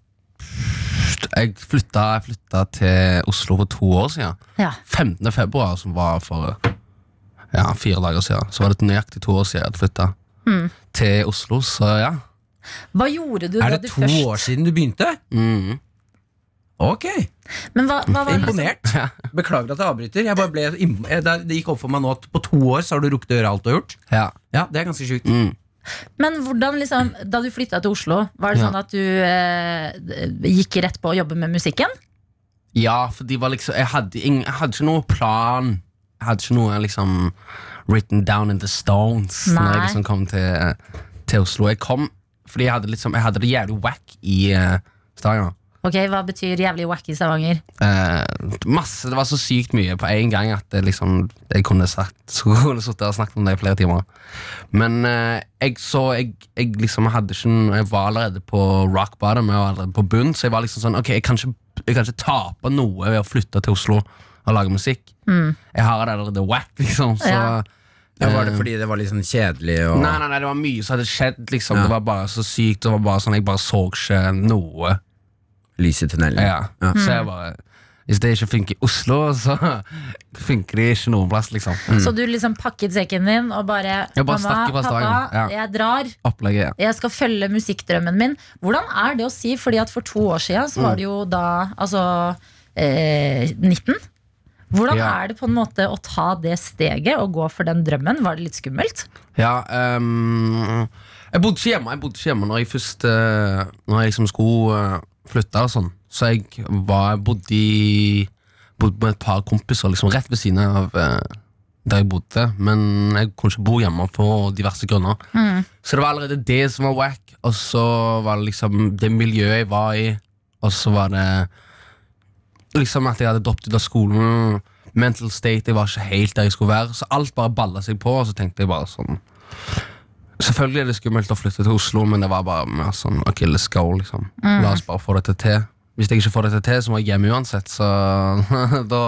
Jeg flytta, jeg flytta til Oslo for to år siden. Ja. 15. februar, som var for ja, fire dager siden, så var det nøyaktig to år siden jeg hadde flytta. til Oslo, så ja. Hva gjorde du Er da det du to først år siden du begynte? Mm. Ok, Men hva, hva var liksom, imponert. Beklager at jeg avbryter. Jeg bare ble imp- eh, det- det gikk opp for meg nå at på to år så har du rukket å gjøre alt du har gjort. ja. Ja, Det er ganske sjukt. Mm. Men hvordan liksom, da du flytta til Oslo, var det Ja. sånn at du eh, gikk rett på å jobbe med musikken? Ja, for de var liksom jeg hadde, ingen, jeg hadde ikke noe plan. Jeg hadde ikke noe liksom written down in the stones når jeg Nei. liksom kom til, til Oslo. Jeg kom fordi jeg hadde, liksom, jeg hadde det jævlig wack i uh, Stavanger. Ok, Hva betyr jævlig wacky Stavanger? Eh, masse, Det var så sykt mye på en gang at det liksom, jeg kunne sagt Så kunne jeg sittet og snakket om det i flere timer. Men eh, jeg så jeg, jeg liksom hadde ikke noe- Jeg var allerede på rock bottom, jeg var allerede på bunn, så jeg var liksom sånn Ok, jeg kan ikke, jeg kan ikke tape noe ved å flytte til Oslo og lage musikk. Hmm. Jeg har det allerede wack, liksom. Så Ja. Ja, var det fordi det var litt sånn kjedelig? Og... Nei, nei, nei, det var mye som hadde skjedd, liksom. Ja. Det var bare så sykt. Det var bare sånn, Jeg bare så ikke noe. Lys i tunnelen. Ja. Så jeg bare Hvis det ikke funker i Oslo, så funker det ikke noen plass, liksom. Så du liksom pakket sekken din og bare, Jeg Mamma, bare stakk i pappa, Stavanger, ja. jeg drar. Opplegget. ja. Jeg skal følge musikkdrømmen min. Hvordan er det å si? Fordi at for to år siden Mm. så var det jo da altså eh, 19. Hvordan Ja. er det på en måte å ta det steget og gå for den drømmen? Var det litt skummelt? Ja, ehm, jeg bodde ikke hjemme Jeg bodde ikke hjemme når jeg først eh, Når jeg liksom skulle eh, flytte og sånn Så jeg var, bodde i Bodde med et par kompiser liksom Rett ved siden av eh, der jeg bodde Men jeg kunne ikke bo hjemme for diverse grunner Så det var allerede det som var whack Og så var det liksom det miljøet jeg var i Og så var det Liksom at jeg hadde droppet ut av skolen Mental state, jeg var ikke helt der jeg skulle være Så alt bare ballet seg på Og så tenkte jeg bare sånn Selvfølgelig er det skummelt å flytte til Oslo, men det var bare mer sånn Ok, let's go, liksom. La oss bare få dette til. Hvis jeg ikke får dette til, så må jeg hjem uansett, så da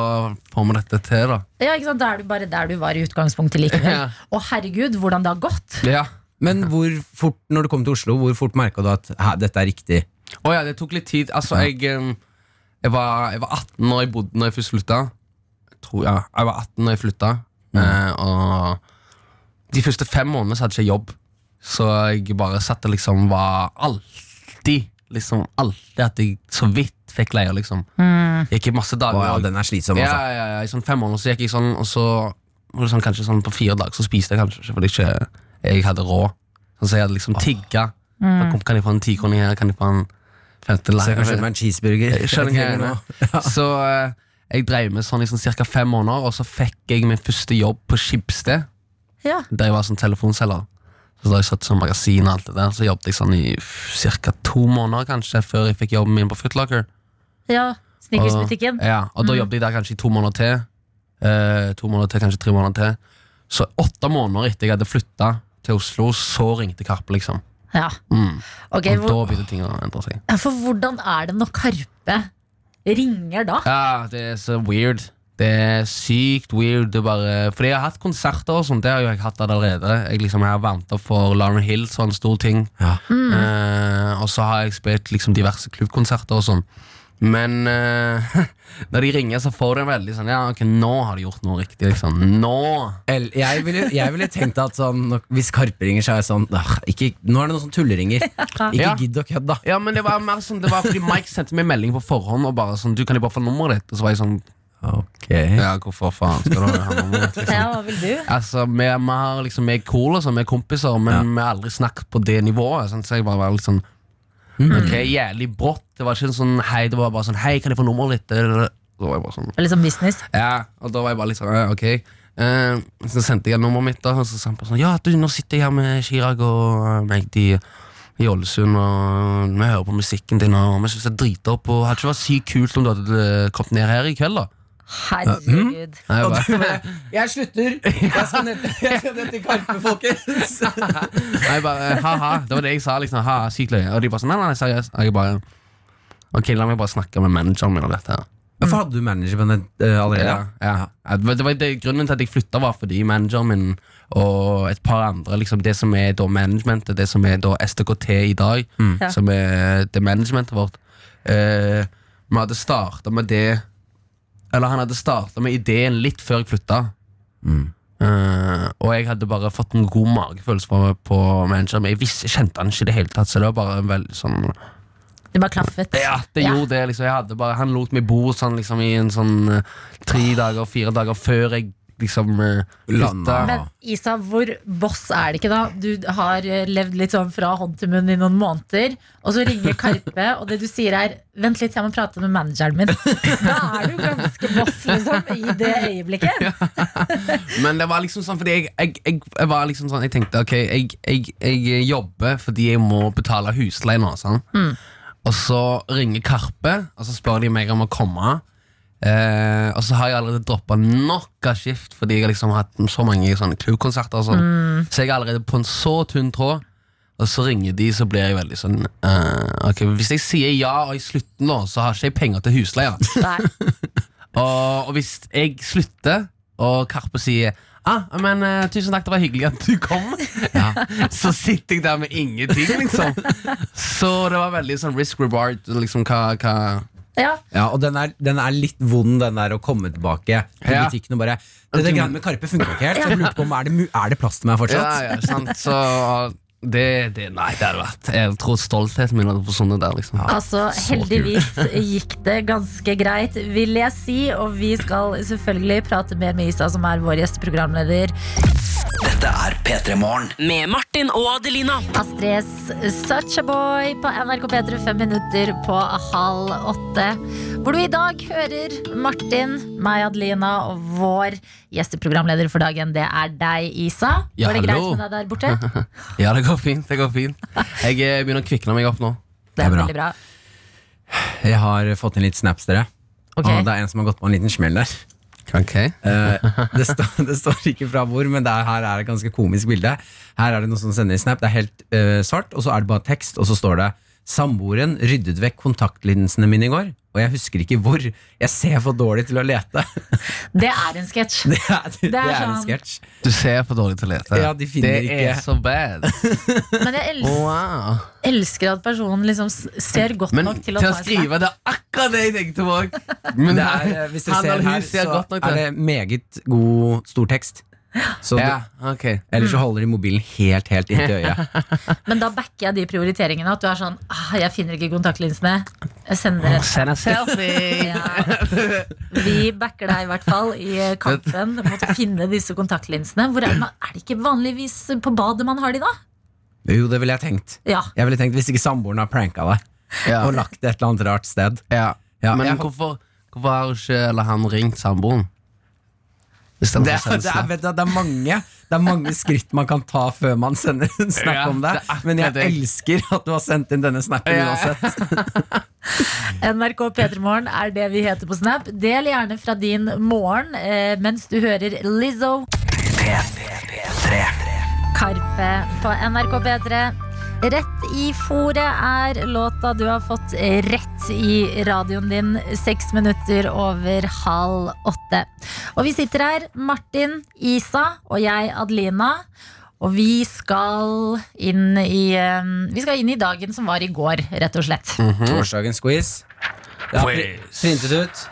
får vi dette til, da. Ja, ikke sant? Da er du bare der du var i utgangspunktet likevel. Ja. Og herregud, hvordan det har gått! Ja. Men hvor fort, når du kom til Oslo, hvor fort merka du at "Hæ, dette er riktig? Å ja, det tok litt tid. Altså, Ja. jeg, em, jeg, var, jeg var 18 når jeg, bodde, når jeg først flytta. Jeg Tror, ja. Jeg var 18 når jeg flytta, eh, og de første fem månedene så hadde jeg ikke jobb. Så jeg bare satt og liksom var alltid Liksom alltid at jeg så vidt fikk leie, liksom. Gikk i masse dager. Å, ja, og- den er slitsom, ja, altså. ja, ja, I sånn fem måneder så gikk jeg sånn, og så var det sånn, kanskje sånn på fire dager så spiste jeg kanskje ikke fordi jeg ikke, jeg hadde råd. Sånn, så jeg hadde liksom tigga. Da kom, Kan jeg få en tikroning her? Kan jeg få en femte Så jeg kan lei- skjønne meg en cheeseburger. Skjønner Jeg trenger greiene. noe. Så eh, jeg drev med sånn i sånn cirka fem måneder, og så fikk jeg min første jobb på Skipsted, Ja. der jeg var sånn telefonselger. Så da jeg satt som magasin og alt det der, så jobbet jeg sånn i cirka to måneder kanskje, før jeg fikk jobben min på Footlocker. ja Snickersbutikken. Og, ja, og Mm. da jobbet jeg der kanskje i to måneder til. Eh, to måneder til, kanskje tre måneder til. Så åtte måneder etter jeg hadde flytta til Oslo, så ringte Karpe, liksom. Ja. Mm. Ok, og da hvor, begynte ting å endre seg. ja, For hvordan er det når Karpe ringer da? Ja, det er så weird. Det er sykt weird. Det er bare, fordi jeg har hatt konserter og sånt, det har jo jeg hatt allerede. Jeg liksom jeg har varmt opp for Lauren Hill, sånn stor ting. Ja. Eh, og så har jeg spilt liksom diverse klubbkonserter og sånn. Men eh, når de ringer, så får du en veldig sånn Ja, ok, nå har de gjort noe riktig, liksom. Nå! Eller, jeg, ville, jeg ville tenkt at sånn, nok- hvis Karpe ringer, så er jeg sånn "Ah, ikke, Nå er det noen som tulleringer. Ikke Ja. gidd å kødde, da. Ja, men det var mer sånn Det var fordi Mike sendte meg melding på forhånd og bare sånn Du, kan jeg bare få nummeret ditt? Og så var jeg sånn Ok Ja, hvorfor faen skal du ha nummeret ditt? liksom? Ja, hva vil du? Altså, vi, vi har liksom, vi er cool, altså, vi er kompiser, men Ja. vi har aldri snakket på det nivået. Sant? Så jeg bare var litt sånn Ok, jævlig brått. Det var ikke en sånn hei, det var bare sånn Hei, kan jeg få nummeret ditt? Så var jeg bare sånn Eller som business? Ja, og da var jeg bare litt sånn «Ja, Ok. Eh, så sendte jeg nummeret mitt, da, og så sa han bare sånn Ja, du, nå sitter jeg her med Chirag og eh, Magdi i Ålesund, og vi hører på musikken din, og vi syns det er dritdopp, og hadde ikke vært sykt kult om du hadde eh, kommet ned her i kveld, da. Herregud. Og jeg bare, Jeg slutter! Jeg skal ned, jeg skal ned til Karpe, folkens! Nei, bare, «Eh, haha, det var det jeg sa, liksom, haha, sykt løye. Og de bare sånn, nei, nei, nei, seriøst. Og jeg bare, ok, la meg bare snakke med manageren min om dette her. Hvorfor hadde du manager på den eh, allerede? Ja, ja. Ja, Det var, det var det, grunnen til at jeg flyttet var fordi manageren min og et par andre, liksom det som er da managementet, det som er da STKT i dag, Ja. som er det managementet vårt, eh, vi hadde startet med det, eller han hadde startet med ideen litt før jeg flyttet. Eh, og jeg hadde bare fått en god magefølelse på, på manageren, men jeg, visste, jeg kjente han ikke i det hele tatt. Så det var bare en veldig sånn Det bare klaffet. Ja, det Ja. gjorde det. liksom jeg hadde bare, Han lot meg bo sånn liksom i en sånn eh, tre dager, fire dager før jeg liksom eh, Landa. flytta. Men Isa, hvor boss er det ikke da? Du har eh, levd litt sånn fra hånd til munn i noen måneder, og så ringer Karpe, og det du sier er 'vent litt, jeg må prate med manageren min'. Da er du ganske boss, liksom, i det øyeblikket. Men det var liksom sånn fordi jeg, jeg, jeg, jeg var liksom sånn Jeg tenkte ok, jeg, jeg, jeg jobber fordi jeg må betale husleie nå. Sånn. Og så ringer Karpe, og så spør de meg om å komme. Eh, og så har jeg allerede droppa nok av skift fordi jeg liksom har hatt så mange sånne klubbkonserter. og Sånn. Så jeg er allerede på en så tynn tråd. Og så ringer de, så blir jeg veldig sånn eh, ok, Hvis jeg sier ja, og i slutten nå, så har ikke jeg penger til husleia. Nei. Og, og hvis jeg slutter, og Karpe sier Ah, men eh, tusen takk, det var hyggelig at du kom. Så sitter jeg der med ingenting, liksom. Så det var veldig sånn risk reward. Liksom, hva, hva Ja, Ja, og den er, den er litt vond, den der å komme tilbake til Ja. butikken og bare Det der greiene med Karpe funker ikke helt, så jeg lurte på om er det, mu- er det plass til meg ja, fortsatt? ja, sant? Så det, det Nei, det hadde vært Jeg tror stoltheten min hadde forsvunnet der, liksom. Altså, så heldigvis gikk det ganske greit, vil jeg si. Og vi skal selvfølgelig prate mer med Isa, som er vår gjesteprogramleder. Dette er P3 Morgen. Med Martin og Adelina. Astrid S. Such a Boy på NRK P3 fem minutter på halv åtte. Hvor du i dag hører Martin, meg, Adelina og vår gjesteprogramleder for dagen. Det er deg, Isa. Ja, Var det greit hallo. med deg der borte? Ja, det går fint. det går fint Jeg eh, begynner å kvikne meg opp nå. Det er bra. veldig bra. Jeg har fått inn litt snaps, dere. Ok. Og det er en som har gått på en liten smell der. Ok Eh, det, står- det står ikke fra hvor, men det er, her er et ganske komisk bilde. Her er det noen som sender en snap. Det er helt eh, svart, og så er det bare tekst, og så står det Samboeren ryddet vekk kontaktlinsene mine i går, og jeg husker ikke hvor. Jeg ser for dårlig til å lete. Det er en sketsj. Det er, det er, en sånn- sketsj. Du ser for dårlig til å lete. Ja, de finner det ikke- er så bad. Men jeg els Wow. elsker at personen liksom s- ser godt Men nok til å, ta en snap. skrive det er akkurat det jeg tenkte på òg! Men Det er, eh, hvis dere ser her, så er det meget god stor tekst. Så Ja, du, ok ellers så holder de mobilen helt, helt inntil øyet. Men da backer jeg de prioriteringene. At du er sånn ah, 'Jeg finner ikke kontaktlinsene'. Jeg sender et Send en selfie! Ja. altså.» Vi backer deg i hvert fall i kampen mot å finne disse kontaktlinsene. Hvor er, det man, er det ikke vanligvis på badet man har de, da? Jo, det ville jeg tenkt. Ja. Jeg ville tenkt Hvis ikke samboeren har pranka deg Ja. og lagt det et eller annet rart sted. Ja. Ja, Men jeg- hvorfor, hvorfor har ikke eller han ringt samboeren? Hvis den Det har er, sendt det, er, snap. vet du, det, er mange, det er mange skritt man kan ta før man sender en snap Ja, om det. det er akkurat Men jeg det. elsker at du har sendt inn denne snappen Ja. uansett. NRK P3morgen er det vi heter på Snap. Del gjerne fra din morgen eh, mens du hører Lizzo, P3. Karpe på NRK P3. Rett i fòret er låta du har fått rett i radioen din seks minutter over halv åtte. Og vi sitter her, Martin, Isa og jeg, Adelina. Og vi skal inn i, eh, vi skal inn i dagen som var i går, rett og slett. Mm, Mhm. Torsdagens quiz. Det er pri- printet ut.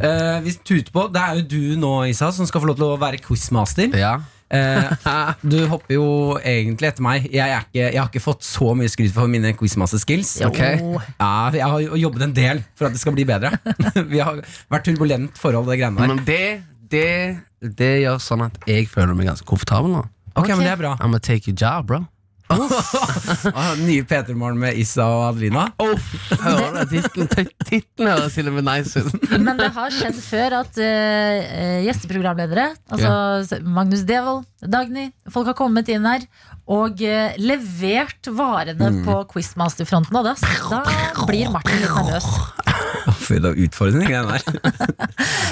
Eh, vi tuter på. Det er jo du nå, Isa, som skal få lov til å være quizmaster. Ja. Eh, du hopper jo egentlig etter meg. Jeg, er ikke, jeg har ikke fått så mye skryt for mine quizmaster-skills. Jo. Ok. Ja, jeg har jo jobbet en del for at det skal bli bedre. vi har vært turbulent forhold, det greiene der. Men det, det, det gjør sånn at jeg føler meg ganske komfortabel nå. Ok, men det er bra. I'm gonna take your job, bro. Ah, Nye P3-morgen med Issa og Adelina. Hører du det? Tittelen- Tittelen høres til og med nice ut. Men det har skjedd før at eh, eh, gjesteprogramledere, altså Magnus Devold, Dagny, folk har kommet inn her og eh, levert varene på Quizmaster-fronten. Og da, da blir Martin litt nervøs. Fy, det er utfordring, den der.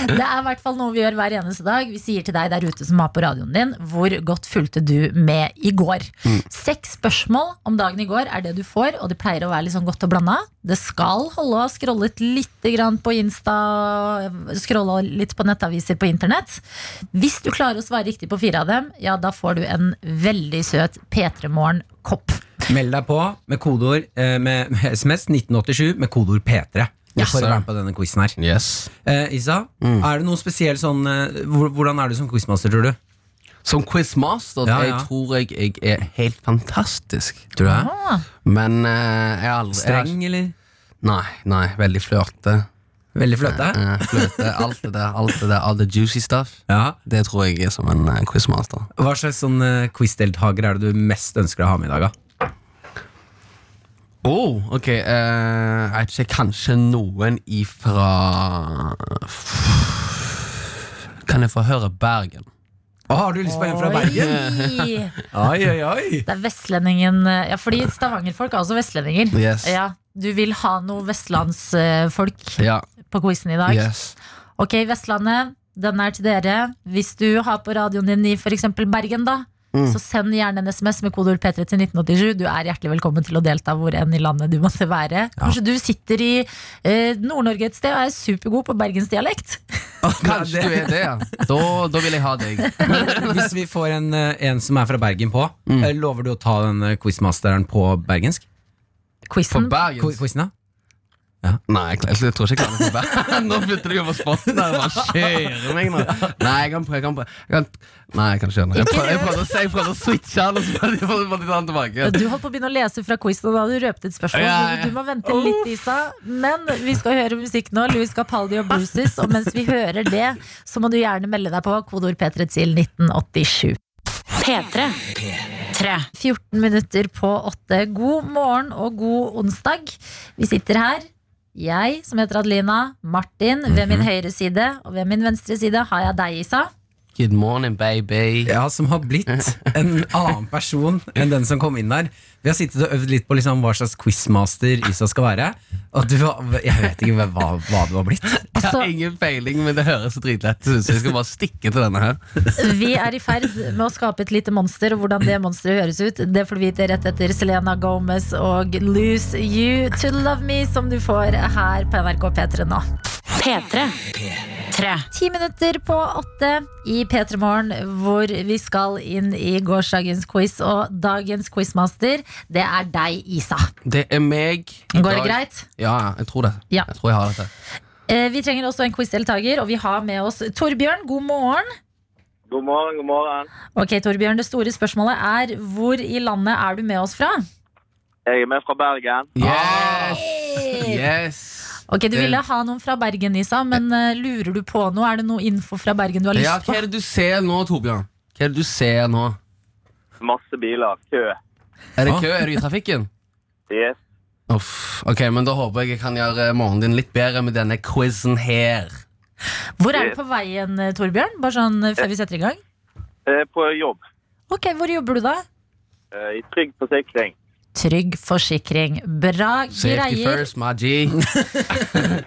Det er i hvert fall noe vi gjør hver eneste dag. Vi sier til deg der ute som har på radioen din, hvor godt fulgte du med i går? Seks spørsmål om dagen i går er det du får, og det pleier å være litt sånn godt og blanda. Det skal holde å ha scrollet litt grann på Insta, scrolla litt på nettaviser på internett. Hvis du klarer å svare riktig på fire av dem, ja, da får du en veldig søt P3 Morgen-kopp. Meld deg på med kodeord eh, med med SMS 1987 med kodeord P3. Ja, for å sir. være med på denne quizen her. Yes Mm. Eh, Isa, er det noe spesiell sånn eh, hvor- Hvordan er du som quizmaster, tror du? Som quizmaster Ja, ja. Jeg tror jeg, jeg er helt fantastisk. Tror du det? Ah, Men eh, jeg har aldri Streng, Jeg, eller? nei, nei, veldig flørte. Veldig fløte? Eh, fløte, alt det der. Alt det der, all the juicy stuff. Ja. Det tror jeg er som en eh, quizmaster. Hva slags sånn eh, quizdeltaker er det du mest ønsker å ha med i dag? da? Oh, ok eh, Jeg vet ikke, kanskje noen ifra Kan jeg få høre Bergen? Å, har du lyst på en fra Bergen? Oi. Oi, oi, oi. Det er vestlendingen eh, Ja, fordi stavangerfolk er også vestlendinger. Yes. Ja, du vil ha noe vestlandsfolk Ja, på quizen i dag. yes Ok, Vestlandet, den er til dere. Hvis du har på radioen din i f.eks. Bergen, da. Mm. Så send gjerne en SMS med kodeord P3 til 1987. Du er hjertelig velkommen til å delta hvor enn i landet du måtte være. Kanskje du sitter i eh, Nord-Norge et sted og er supergod på bergensdialekt. Kanskje du er det, ja. Da, da vil jeg ha deg. Hvis vi får en, eh, en som er fra Bergen på, eh, lover du å ta denne quizmasteren på bergensk? På Quizen. Bergen. Qu- Quizen, da? Nei, jeg, klarer- jeg tror ikke jeg klarer det på Bergen. Nå flytter du over spotten der. Hva skjer meg nå? Nei, jeg kan prøve. Jeg kan prøve. Jeg kan... Nei, jeg kan ikke gjøre det. Jeg prøv- Jeg prøvde å si- jeg prøvde å switche den, og så bare- bare bare ta den tilbake. Du holdt på å begynne å lese fra quizen, og da hadde du røpt et spørsmål. Ja, så ja. Du må vente litt, Isa. Men vi skal høre musikk nå. Louis Capaldi og Bruces. Og mens vi hører det, så må du gjerne melde deg på kodeord P3 til 1987. P3. P3. 14 minutter på 8. God morgen og god onsdag. Vi sitter her. Jeg, som heter Adelina, Martin ved min høyre side, og ved min venstre side har jeg deg, Isa. Good morning, baby. Ja, som har blitt en annen person enn den som kom inn der. Vi har sittet og øvd litt på liksom hva slags quizmaster Isa skal være. Og du, har- jeg vet ikke hva, hva du har blitt. Jeg Så har ingen peiling, men det høres så dritlett ut, så jeg skal bare stikke til denne her. vi er i ferd med å skape et lite monster, og hvordan det monsteret høres ut, det får du vite rett etter Selena Gomez og Lose You To Love Me, som du får her på NRK P3 nå. P3. P3. Ti minutter på åtte i P3 Morgen, hvor vi skal inn i gårsdagens quiz. Og dagens quizmaster, det er deg, Isa. Det er meg. i Går det dag. greit? Ja, jeg tror det. Ja. Jeg tror jeg har dette. Eh, Vi trenger også en quizdeltaker, og vi har med oss Torbjørn. God morgen. God morgen, god morgen. Ok, Torbjørn, Det store spørsmålet er hvor i landet er du med oss fra? Jeg er med fra Bergen. Ah. Yes! Yes! Ok, Du ville ha noen fra Bergen, Isa, men eh, lurer du på noe? Er det noe info fra Bergen du har Ja, lyst hva på? er det du ser nå, Torbjørn? Hva er det du ser nå? Masse biler, kø. Er det kø? Er du i trafikken? Yes. Uff, ok, men Da håper jeg jeg kan gjøre morgenen din litt bedre med denne quizen her. Hvor er du på veien, eh, Torbjørn? Bare sånn eh, før vi setter i gang. Eh, På jobb. Ok, Hvor jobber du, da? Eh, I Trygg Forsikring. Trygg forsikring. Bra Safety greier. first, my G.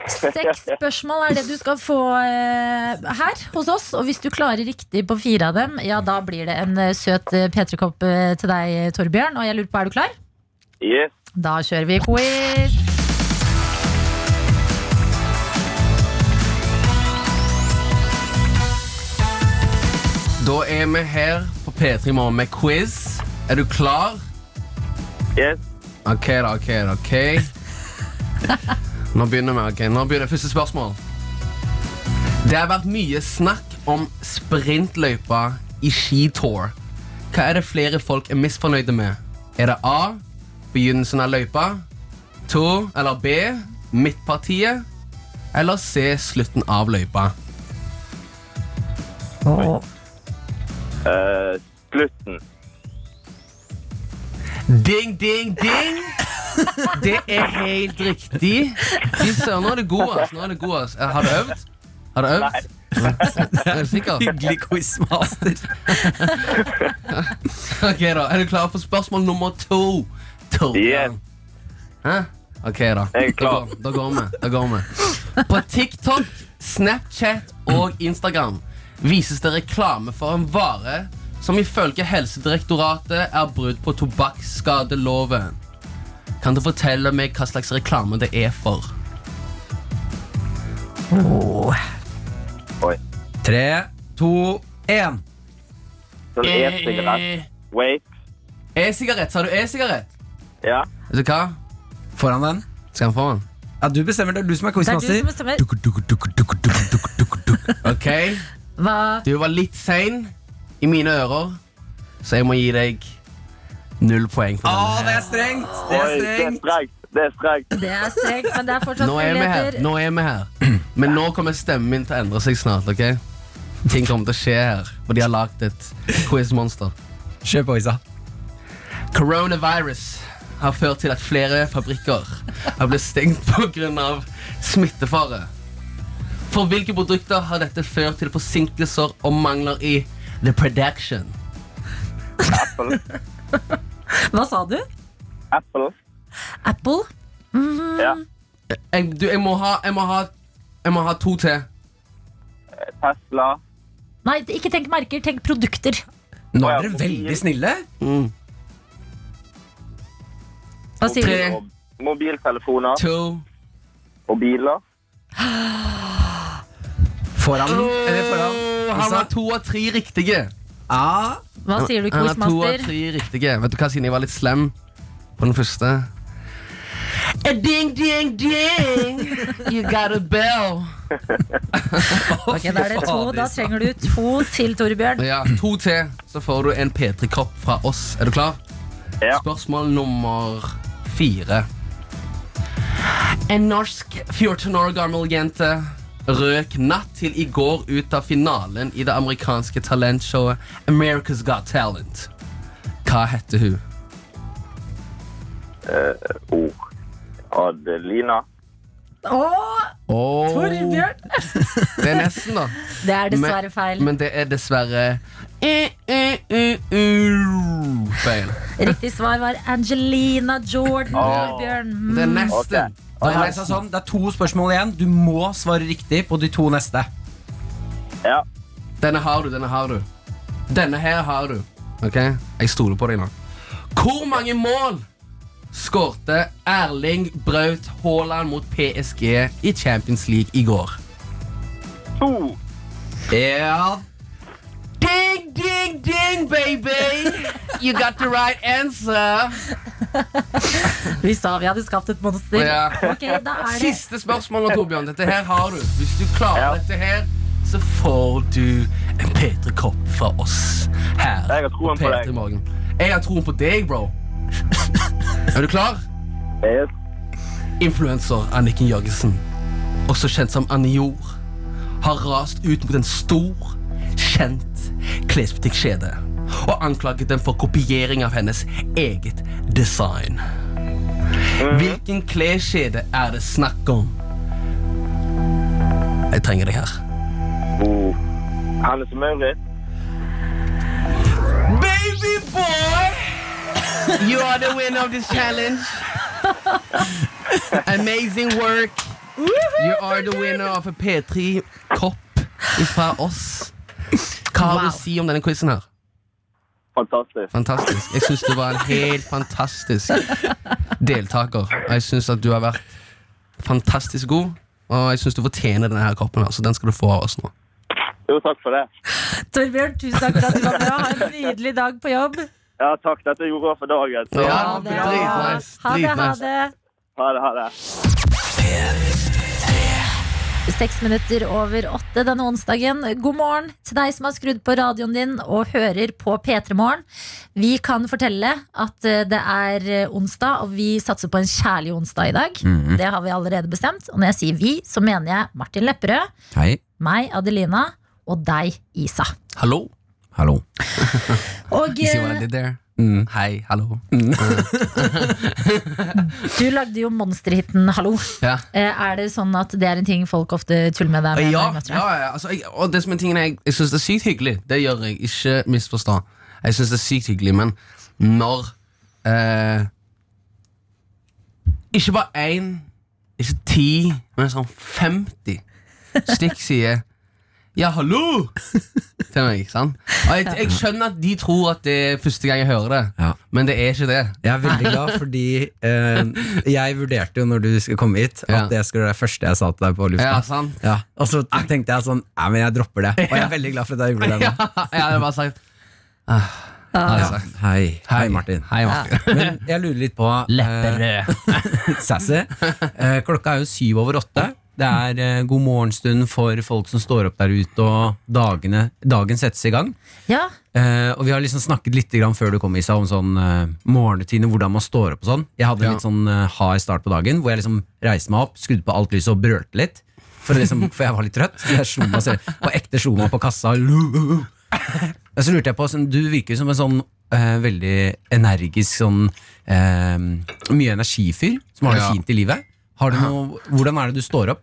Seks spørsmål er det du skal få eh, her hos oss. Og hvis du klarer riktig på fire av dem, ja, da blir det en eh, søt eh, P3-kopp eh, til deg, eh, Torbjørn. Og jeg lurer på, er du klar? Yes. Da kjører vi quiz. Da er vi her på P3 i morgen med quiz. Er du klar? Yes. Ok da, ok da, ok Nå begynner vi, ok Nå begynner første spørsmål Det har vært mye snakk om sprintløypa i Skitour Hva er det flere folk er misfornøyde med? Er det A, begynnelsen av løypa 2, eller B, midtpartiet Eller C, slutten av løypa Åh, Eh, slutten. Ding, ding, ding! Det er helt riktig. Fy søren, nå er det god, ass. Nå er det god, ass. Eh, Har du øvd? Har du øvd? Er du sikker? Hyggelig quizmaster. Ok da, Er du klar for spørsmål nummer to? to Yes. Hæ? Ok, da. Jeg er klar. Da går, da går vi. da går vi På TikTok, Snapchat og Instagram vises det reklame for en vare som ifølge Helsedirektoratet er brudd på tobakksskadeloven. Kan du fortelle meg hva slags reklame det er for? Oi. Tre, to, én. Så det Eh, er sigarett. Sånn Wait. E-sigarett, Eh, sa du e-sigarett? Ja. Vet du hva? Foran den. Skal han få den? Ja, du bestemmer, det er du som er det er du quizmaster. som bestemmer. Ok, Hva? du var litt sein. i mine ører, så jeg må gi deg null poeng for denne. det er strengt! Oi, det er strengt. Det er strengt. Det er strekt, men det er fortsatt Nå er vi her. muligheter. Nå er vi her. Men nå kommer stemmen min til å endre seg snart. ok? Ting kommer til å skje her, for de har lagd et quizmonster. Kjør på, Isa. Coronavirus har ført til at flere fabrikker har blitt stengt pga. smittefare. For hvilke produkter har dette ført til forsinkelser og mangler i the production? Apple. Hva sa du? Apple. Apple? Ja. Jeg, du, jeg, må ha, jeg, må ha, jeg må ha to til. Tesla. Nei, ikke tenk merker, tenk produkter. Nå Å, er ja, dere mobil. veldig snille. Hva sier du? Tre, Og mobiltelefoner to og biler. Foran. Eller foran. altså, Åh, Han Isa. har to av tre riktige. Ja. Hva sier du, Han har to av quizmaster? tre riktige. Vet du hva, siden jeg var litt slem på den første A Ding, ding, ding! You got a bell. Ok, da er det to. Da trenger du altså. to til, Torbjørn. Ja, to til, så får du en P3-kopp fra oss. Er du klar? Ja. Spørsmål nummer fire. En norsk 14 år gammel jente røk natt til i går ut av finalen i det amerikanske talentshowet America's Got Talent. Hva heter hun? Ord. Oh. Adelina. Åh, Torbjørn! Det er nesten, da. Det er dessverre Men- feil. Men det er dessverre eh, eh, eh, eh, feil. Riktig svar var Angelina Jordan, Åh. Torbjørn. Mm. Det er nesten. Ok. Da er det, sånn, det er to spørsmål igjen. Du må svare riktig på de to neste. Ja. Denne har du, denne har du. Denne her har du. Ok, Jeg stoler på deg nå. Hvor mange mål skårte Erling Braut Haaland mot PSG i Champions League i går? To. Ja, Ding, ding, ding, baby! You got the right answer. Vi sa vi hadde skapt et monster. Ja. Ok, da er det Siste spørsmål, nå, Torbjørn. Dette her har du. Hvis du klarer Ja. dette her, så får du en P3-kopp fra oss her. Jeg har troen på deg. P3 Morgen. Jeg har troen på deg, bro. Er du klar? Yes. Influencer Anniken Jørgensen, også kjent som Annie-Jord, har rast ut mot en stor, kjent klesbutikkjede og anklaget dem for kopiering av hennes eget design. Hvilken kleskjede er det snakk om? Jeg trenger deg her. Oh. Hannes og Maurits. Baby boy! You are the winner of this challenge. Amazing work. You are the winner of a P3-kopp fra oss. Hva har du å si om denne quizen her? Fantastisk. Fantastisk. Jeg syns du var en helt fantastisk deltaker. Og Jeg syns at du har vært fantastisk god, og jeg syns du fortjener denne her koppen. her, Så den skal du få av oss nå. Jo, takk for det. Torbjørn. Tusen takk for at du var med. Ha en nydelig dag på jobb. Ja, takk. Dette gjorde jeg for dagen. Så, Ja. Ha det. dritnice, Ha det, ha dritnice. det. ha det, ha det. Seks minutter over åtte denne onsdagen. God morgen til deg som har skrudd på radioen din og hører på P3 Morgen. Vi kan fortelle at eh, det er eh, onsdag, og vi satser på en kjærlig onsdag i dag. Mhm. Det har vi allerede bestemt. Og når jeg sier vi, så mener jeg Martin Lepperød, Hei. meg, Adelina, og deg, Isa. Hallo? Hallo. Og You see what I eh, did there? Hei, hallo. eh, du lagde jo monsterhiten Hallo. Ja. Eh, Er det sånn at det er en ting folk ofte tuller med deg med? når Ja, de møter deg? ja, ja. Altså, jeg, og det som er tingen jeg, jeg syns det er sykt hyggelig. Det gjør jeg. Ikke misforstå. Jeg syns det er sykt hyggelig, men når eh, Ikke bare én, ikke ti, men sånn 50 stykk sier ja, hallo! Til meg, ikke sant? Og jeg, jeg skjønner at de tror at det er første gang jeg hører det, Ja. men det er ikke det. Jeg er veldig glad, fordi eh, jeg vurderte jo når du skulle komme hit, Ja. at det skulle være det første jeg sa til deg på lufta. Ja, sant? Ja, Og så tenkte jeg sånn Nei, men jeg dropper det. Og jeg er veldig glad for at jeg gjorde det. Ja, nå. jeg hadde bare sagt ah, hadde jeg Ja. sagt. Hei. Hei, Martin. Hei, Martin. Men jeg lurer litt på eh, Sassy. Eh, klokka er jo syv over åtte. Det er eh, god morgenstund for folk som står opp der ute, og dagene, dagen settes i gang. Ja, Eh, og vi har liksom snakket litt grann før du kom Isa, om sånn eh, morgenrutine, hvordan man står opp og sånn. Jeg hadde en Ja. litt sånn eh, hard start på dagen, hvor jeg liksom reiste meg opp, skrudde på alt lyset og brølte litt. For, å liksom, for jeg var litt trøtt. Så jeg slo meg selv, på ekte slo meg på kassa. Og så lurte jeg på, sånn, du virker jo som en sånn eh, veldig energisk sånn eh, Mye energifyr som har det Ja. fint i livet. Har du noe, hvordan er det du står opp?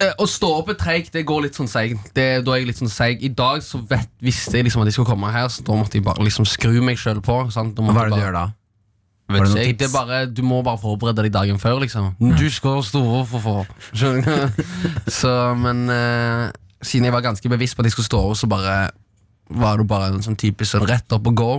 Eh, Å stå opp er treigt. Det går litt sånn seig. Det, da er jeg litt sånn seig. I dag så vet, visste jeg liksom at jeg skulle komme her, så da måtte jeg bare liksom skru meg sjøl på. Sant? Da måtte Hva er jeg det du bare- gjør da? Vet Var det ikke noen jeg. Det tips? Mm. er bare, du må bare forberede deg dagen før, liksom. Du skal stå opp for for. Skjønner du? Så, men eh, siden jeg var ganske bevisst på at jeg skulle stå opp, så bare var det bare en sånn typisk sånn rett opp og gå.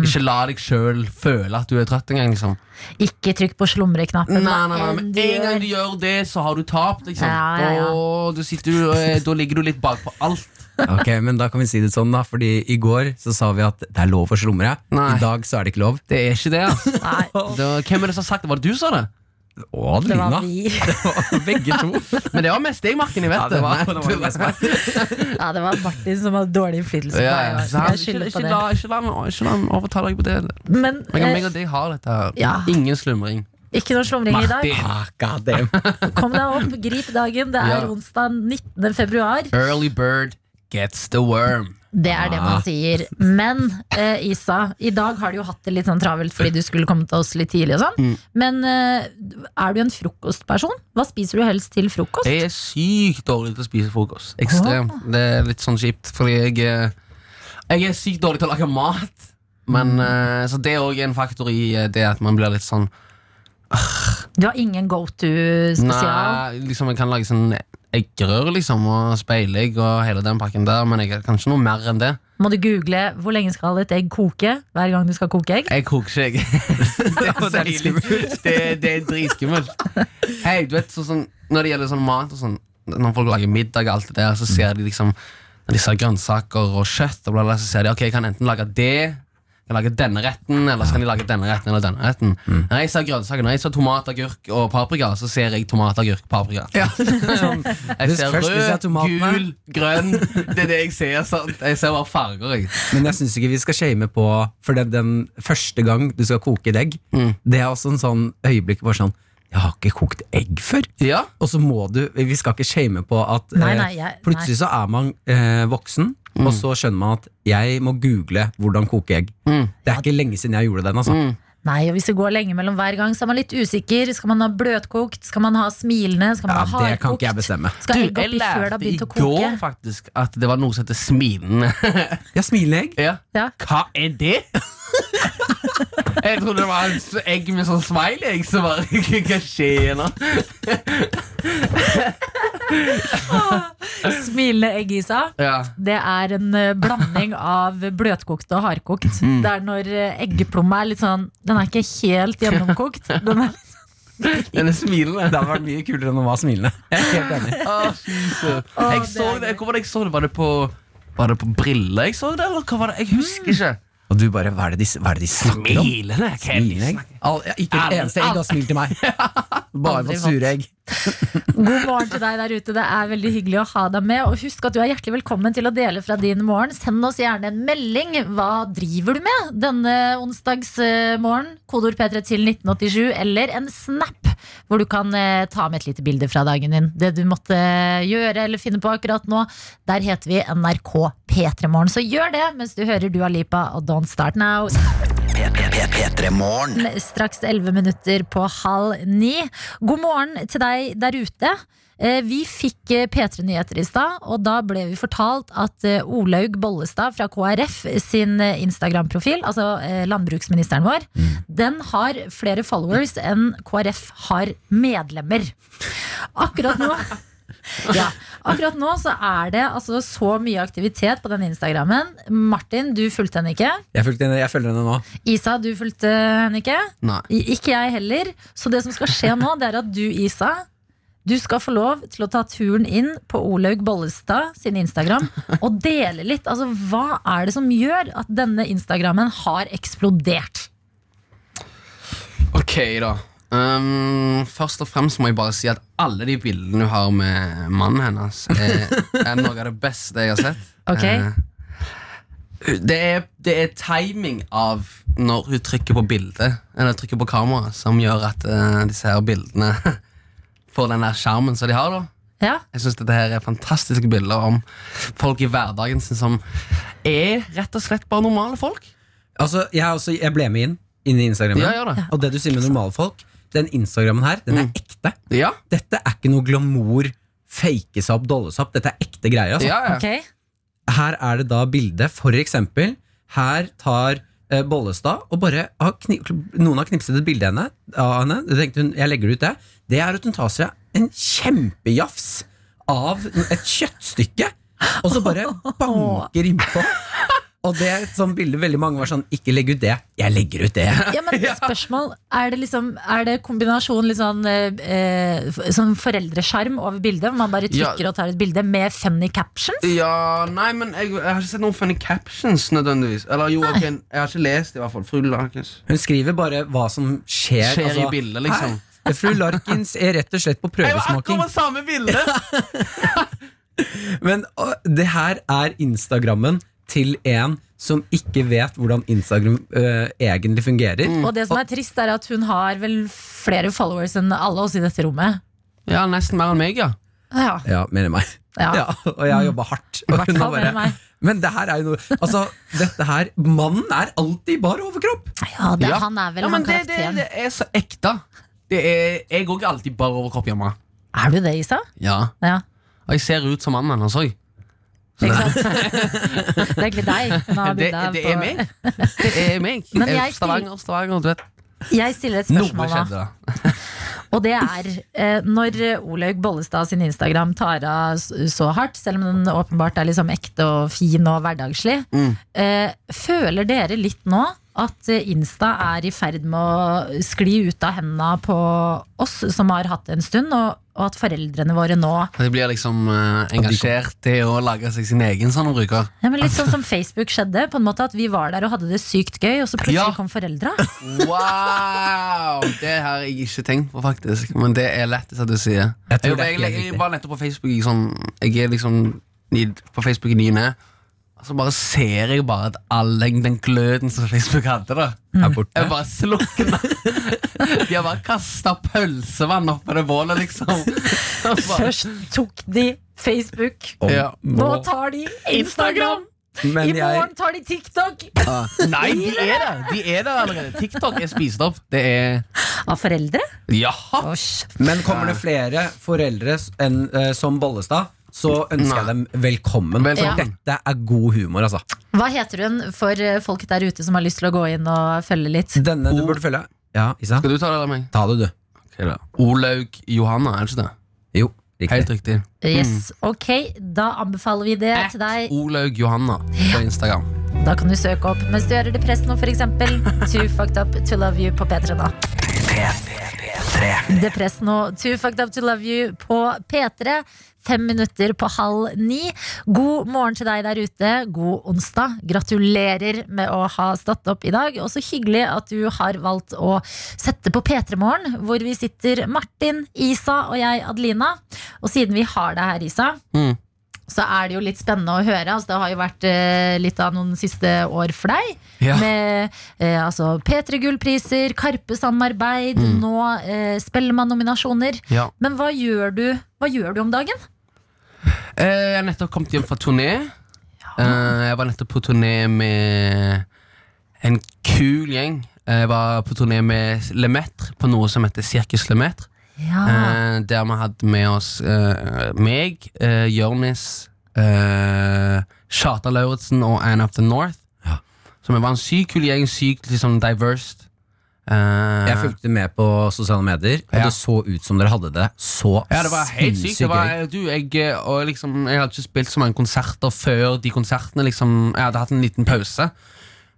Ikke la deg sjøl føle at du er trøtt engang. Liksom. ikke trykk på slumreknappen. Nei, nei, hva nei, enn men du en gang gjør. du gjør det, så har du tapt, liksom. Ja, ja, ja. Da, du sitter, du, eh, da ligger du litt bakpå alt. Ok, men da kan vi si det sånn da Fordi i går så sa vi at det er lov å slumre Nei. I dag så er det ikke lov Det er ikke det, altså. Nei, Da, hvem er det som har sagt det? Var det du som sa det? Å, det var Adelina vi. Begge to Men det var mest deg, Martin. Jeg vet det. Ja, det var Martin som hadde dårlig innflytelse på Ja, meg. altså. ikke sant? Jeg skylder Ikke- på ikke det. la- Ikke la meg- ikke la meg overtale deg på det. Men Men meg eh, og deg har dette her. Ja. Ingen slumring. ikke noe slumring i dag. Ah, Kom deg opp, grip dagen. Det er Ja. onsdag 19. februar. Early bird gets the worm. Det er det Ah. man sier. Men eh, Isa, i dag har du jo hatt det litt sånn travelt fordi du skulle komme til oss litt tidlig. og sånn Mm. Men eh, er du en frokostperson? Hva spiser du helst til frokost? Jeg er sykt dårlig til å spise frokost. Ekstremt. Det er litt sånn kjipt, fordi jeg, er- jeg er sykt dårlig til å lage mat. Men, eh, så det er òg en faktor i eh, det at man blir litt sånn Du har ingen go to spesial? Nei, liksom jeg kan lage sånn eggerør liksom, og speilegg og hele den pakken der, men jeg kan ikke noe mer enn det. Må du google 'hvor lenge skal et egg koke?' hver gang du skal koke egg? Jeg koker ikke, jeg. det, er veldig- det, det er dritskummelt. Hei, du vet, så sånn, Når det gjelder sånn mat og sånn Når folk lager middag og alt det der, så ser de liksom Når de ser grønnsaker og kjøtt, og bla, bla, så ser de ok, jeg kan enten lage det jeg kan lage denne retten, eller så kan de lage denne retten eller denne retten. Når jeg ser grønnsaker, når jeg ser tomat, agurk og paprika, så ser jeg tomat, agurk, paprika. Jeg ser Først spiser jeg rød, tomatene. gul, grønn. Det er det jeg ser. Sant? Jeg ser bare farger. Jeg. Men jeg synes ikke vi skal shame på For det, den første gang du skal koke et egg Mm. Det er også en sånn øyeblikk Bare sånn, jeg har ikke kokt egg før Ja, Og så må du, vi skal ikke shame på at eh, Nei, nei, Mm. jeg- Plutselig så er man eh, voksen Og så skjønner man at jeg må google Hvordan koke egg Mm. Det er ikke lenge siden jeg gjorde den altså. Nei, og hvis det går lenge mellom hver gang, så er man litt usikker. Skal man ha bløtkokt? Skal man ha smilende? Skal man Ja, ha det kan ikke jeg hardkokt? bestemme Skal egg oppi før det har i begynt å koke? går faktisk at det var noe som heter smilende. Jeg smiler egg ja. Ja. Hva er det? jeg trodde det var et egg med sånn smile. Jeg, så bare, hva skjer nå? Smilende egg, Isa. Ja. Det er en eh, blanding av bløtkokt og hardkokt. Mm. Det er når eh, eggeplomma er litt sånn Den er ikke helt gjennomkokt. Den er, Den er smilende. Det hadde vært mye kulere enn å være smilende. Jeg er helt enig. Å, fy søren. jeg så det er det, hvor var det jeg så det? Var det på, var det på briller jeg så det, eller hva var det? Jeg Mm. husker ikke. Og du bare, hva er det de, hva er det de snakker om? Smilende? Hva er det Smilende de egg? Al- ja, Ikke et Alle- eneste egg har smilt til meg. Bare Aldri fått sure egg. god morgen til deg der ute. Det er veldig hyggelig å ha deg med. Og husk at du er hjertelig velkommen til å dele fra din morgen. Send oss gjerne en melding. Hva driver du med denne onsdagsmorgen? Kodord P3 til 1987. Eller en snap, hvor du kan eh, ta med et lite bilde fra dagen din. Det du måtte eh, gjøre eller finne på akkurat nå. Der heter vi NRK P3 Morgen. Så gjør det mens du hører Dua Lipa og Don't Start Now. P3 Morgen. Morgen, straks 11 minutter på halv ni. God morgen til deg der ute. Eh, Vi fikk eh, P3 Nyheter i stad, og da ble vi fortalt at eh, Olaug Bollestad fra KrF sin eh, Instagram-profil, altså eh, landbruksministeren vår, den har flere followers enn KrF har medlemmer. Akkurat nå ja. Akkurat nå så er det altså så mye aktivitet på den Instagrammen. Martin, du fulgte henne ikke. Jeg, fulgte henne- jeg følger henne nå. Isa, du fulgte henne ikke. Nei. I- Ikke jeg heller. Så det som skal skje nå, det er at du, Isa, du skal få lov til å ta turen inn på Olaug Bollestad sin Instagram og dele litt. Altså, hva er det som gjør at denne Instagrammen har eksplodert? Ok, da. Um, først og fremst må jeg bare si at alle de bildene hun har med mannen hennes, er, er noe av det beste jeg har sett. Ok. Eh, det, er, det er timing av når hun trykker på bildet, eller trykker på kamera, som gjør at eh, disse her bildene får den der skjermen som de har. da Ja. jeg synes dette her er fantastiske bilder om folk i hverdagen sin som er rett og slett bare normale folk. Altså, jeg, er også, jeg ble med inn inn i Instagrammen. Ja, gjør det. Mm. Og det du sier med normale folk, den Instagrammen her, den er ekte. Ja, Dette er ikke noe glamour, fakes opp, dolles opp. Dette er ekte greier. Altså. ja, ja. Ok. Her er det da bildet, for eksempel. Her tar eh, Bollestad og bare har kni Noen har knipset et bilde henne, av henne. Det tenkte hun, jeg legger ut det. Det er at hun tar seg en kjempejafs av et kjøttstykke, og så bare banker innpå. Og det er et sånt bilde veldig mange var sånn Ikke legg ut det. Jeg legger ut det. Ja, men spørsmål Er det, liksom, er det kombinasjon litt sånn, eh, eh, f- sånn foreldreskjerm over bildet? Hvor man bare Ja. trykker og tar et bilde med funny captions? Ja, nei, men jeg, jeg har ikke sett noen funny captions nødvendigvis. Eller jo, ok, jeg har ikke lest det i hvert fall. Fru Larkins. Hun skriver bare hva som skjer. altså. Skjer i bildet, liksom. Her, Fru Larkins er rett og slett på prøvesmaking. samme bilde! Men å, det her er Instagrammen til en som ikke vet hvordan Instagram øh, egentlig fungerer. Mm. Og det som er trist, er at hun har vel flere followers enn alle oss i dette rommet. ja, nesten mer enn meg, ja. Ja, Ja, mer enn meg. ja. Mm. Ja, og jeg har jobba hardt. I Og hvert hun fall har mer enn meg. men det her er jo noe Altså, dette her Mannen er alltid i bar overkropp! ja det, Ja. Han er vel ja men han det, det, karakteren. det er så ekte. Det er, jeg går ikke alltid bare overkropp hjemme. Er du det, Isa? Ja. Ja. Og jeg ser ut som mannen hans òg. Ikke sant? det er egentlig deg. Nå har du Det, deg det på- er meg. Det er meg. Men Eh, jeg Stavanger, Stavanger, du vet. Jeg stiller et Noe spørsmål nå. skjedde da. Og det er eh, når Olaug Bollestad sin Instagram tar av s- så hardt, selv om den åpenbart er liksom ekte og fin og hverdagslig, eh, føler dere litt nå at eh, Insta er i ferd med å skli ut av hendene på oss som har hatt det en stund, og, og at foreldrene våre nå De blir liksom eh, engasjert til å lage seg sin egen sånn bruker. ja, men Litt sånn som Facebook skjedde, på en måte at vi var der og hadde det sykt gøy, og så plutselig Ja. kom foreldra. Wow! Det har jeg ikke tenkt på, faktisk. Men det er lættis at du sier. Jeg Jeg, tror jeg, det er helt jeg riktig. var nettopp på Facebook i sånn, Jeg er liksom ny, på Facebook i ny og ne. Og så bare ser jeg bare at all den, den gløden som Facebook hadde, da Mm. Er borte. Jeg bare slukna. De har bare kasta pølsevann oppå det bålet, liksom. Og bare- Først tok de Facebook, Om- Ja. nå Nå- tar de Instagram! I Men jeg, morgen tar de TikTok! Ah, Nei, de er der! De er der allerede. TikTok er spist opp. Det er Av foreldre? Jaha! men kommer det flere foreldre s- enn, øh, som Bollestad, så ønsker jeg dem velkommen. Velkommen. Dette er god humor, altså. Hva heter hun for eh, folk der ute som har lyst til å gå inn og følge litt? Denne du burde følge. Ja, Isa? Skal du ta det eller meg? Ta det, du. Olaug Johanna, er det ikke det? Jo, riktig. Helt riktig. Yes, ok, Da anbefaler vi det til deg. Olaug Johanna på Instagram. Da kan du søke opp mens du hører det press nå, f.eks. Too fucked up to love you på P3 nå. Depress nå. Too fucked up to love you på P3. Fem minutter på halv ni. God morgen til deg der ute. God onsdag. Gratulerer med å ha stått opp i dag. Og så hyggelig at du har valgt å sette på P3 Morgen, hvor vi sitter Martin, Isa og jeg, Adelina. Og siden vi har deg her, Isa Mm. Så er det jo litt spennende å høre. Altså, det har jo vært eh, litt av noen siste år for deg. Ja. Med eh, altså, P3 Gullpriser, Karpe-samarbeid, Mm. nå eh, Spellemann-nominasjoner. Ja. Men hva gjør, du, hva gjør du om dagen? Eh, Jeg har nettopp kommet hjem fra turné. Eh, Jeg var nettopp på turné med en kul gjeng. Eh, Jeg var på turné med Lemaitre på noe som heter Sirkus Ah. Lemaitre. Ja, Eh, der vi hadde med oss eh, meg, eh, Jonis, eh, Charta Lauritzen og Anne of the North. Ja. Så vi var en sykt kul gjeng, sykt liksom diverse. Eh, Jeg fulgte med på sosiale medier, og Ja. det så ut som dere hadde det så ja, det var helt sykt. Det sinnssykt gøy. var, du, jeg, eh, og liksom, jeg hadde ikke spilt så mange konserter før de konsertene. Liksom, jeg hadde hatt en liten pause.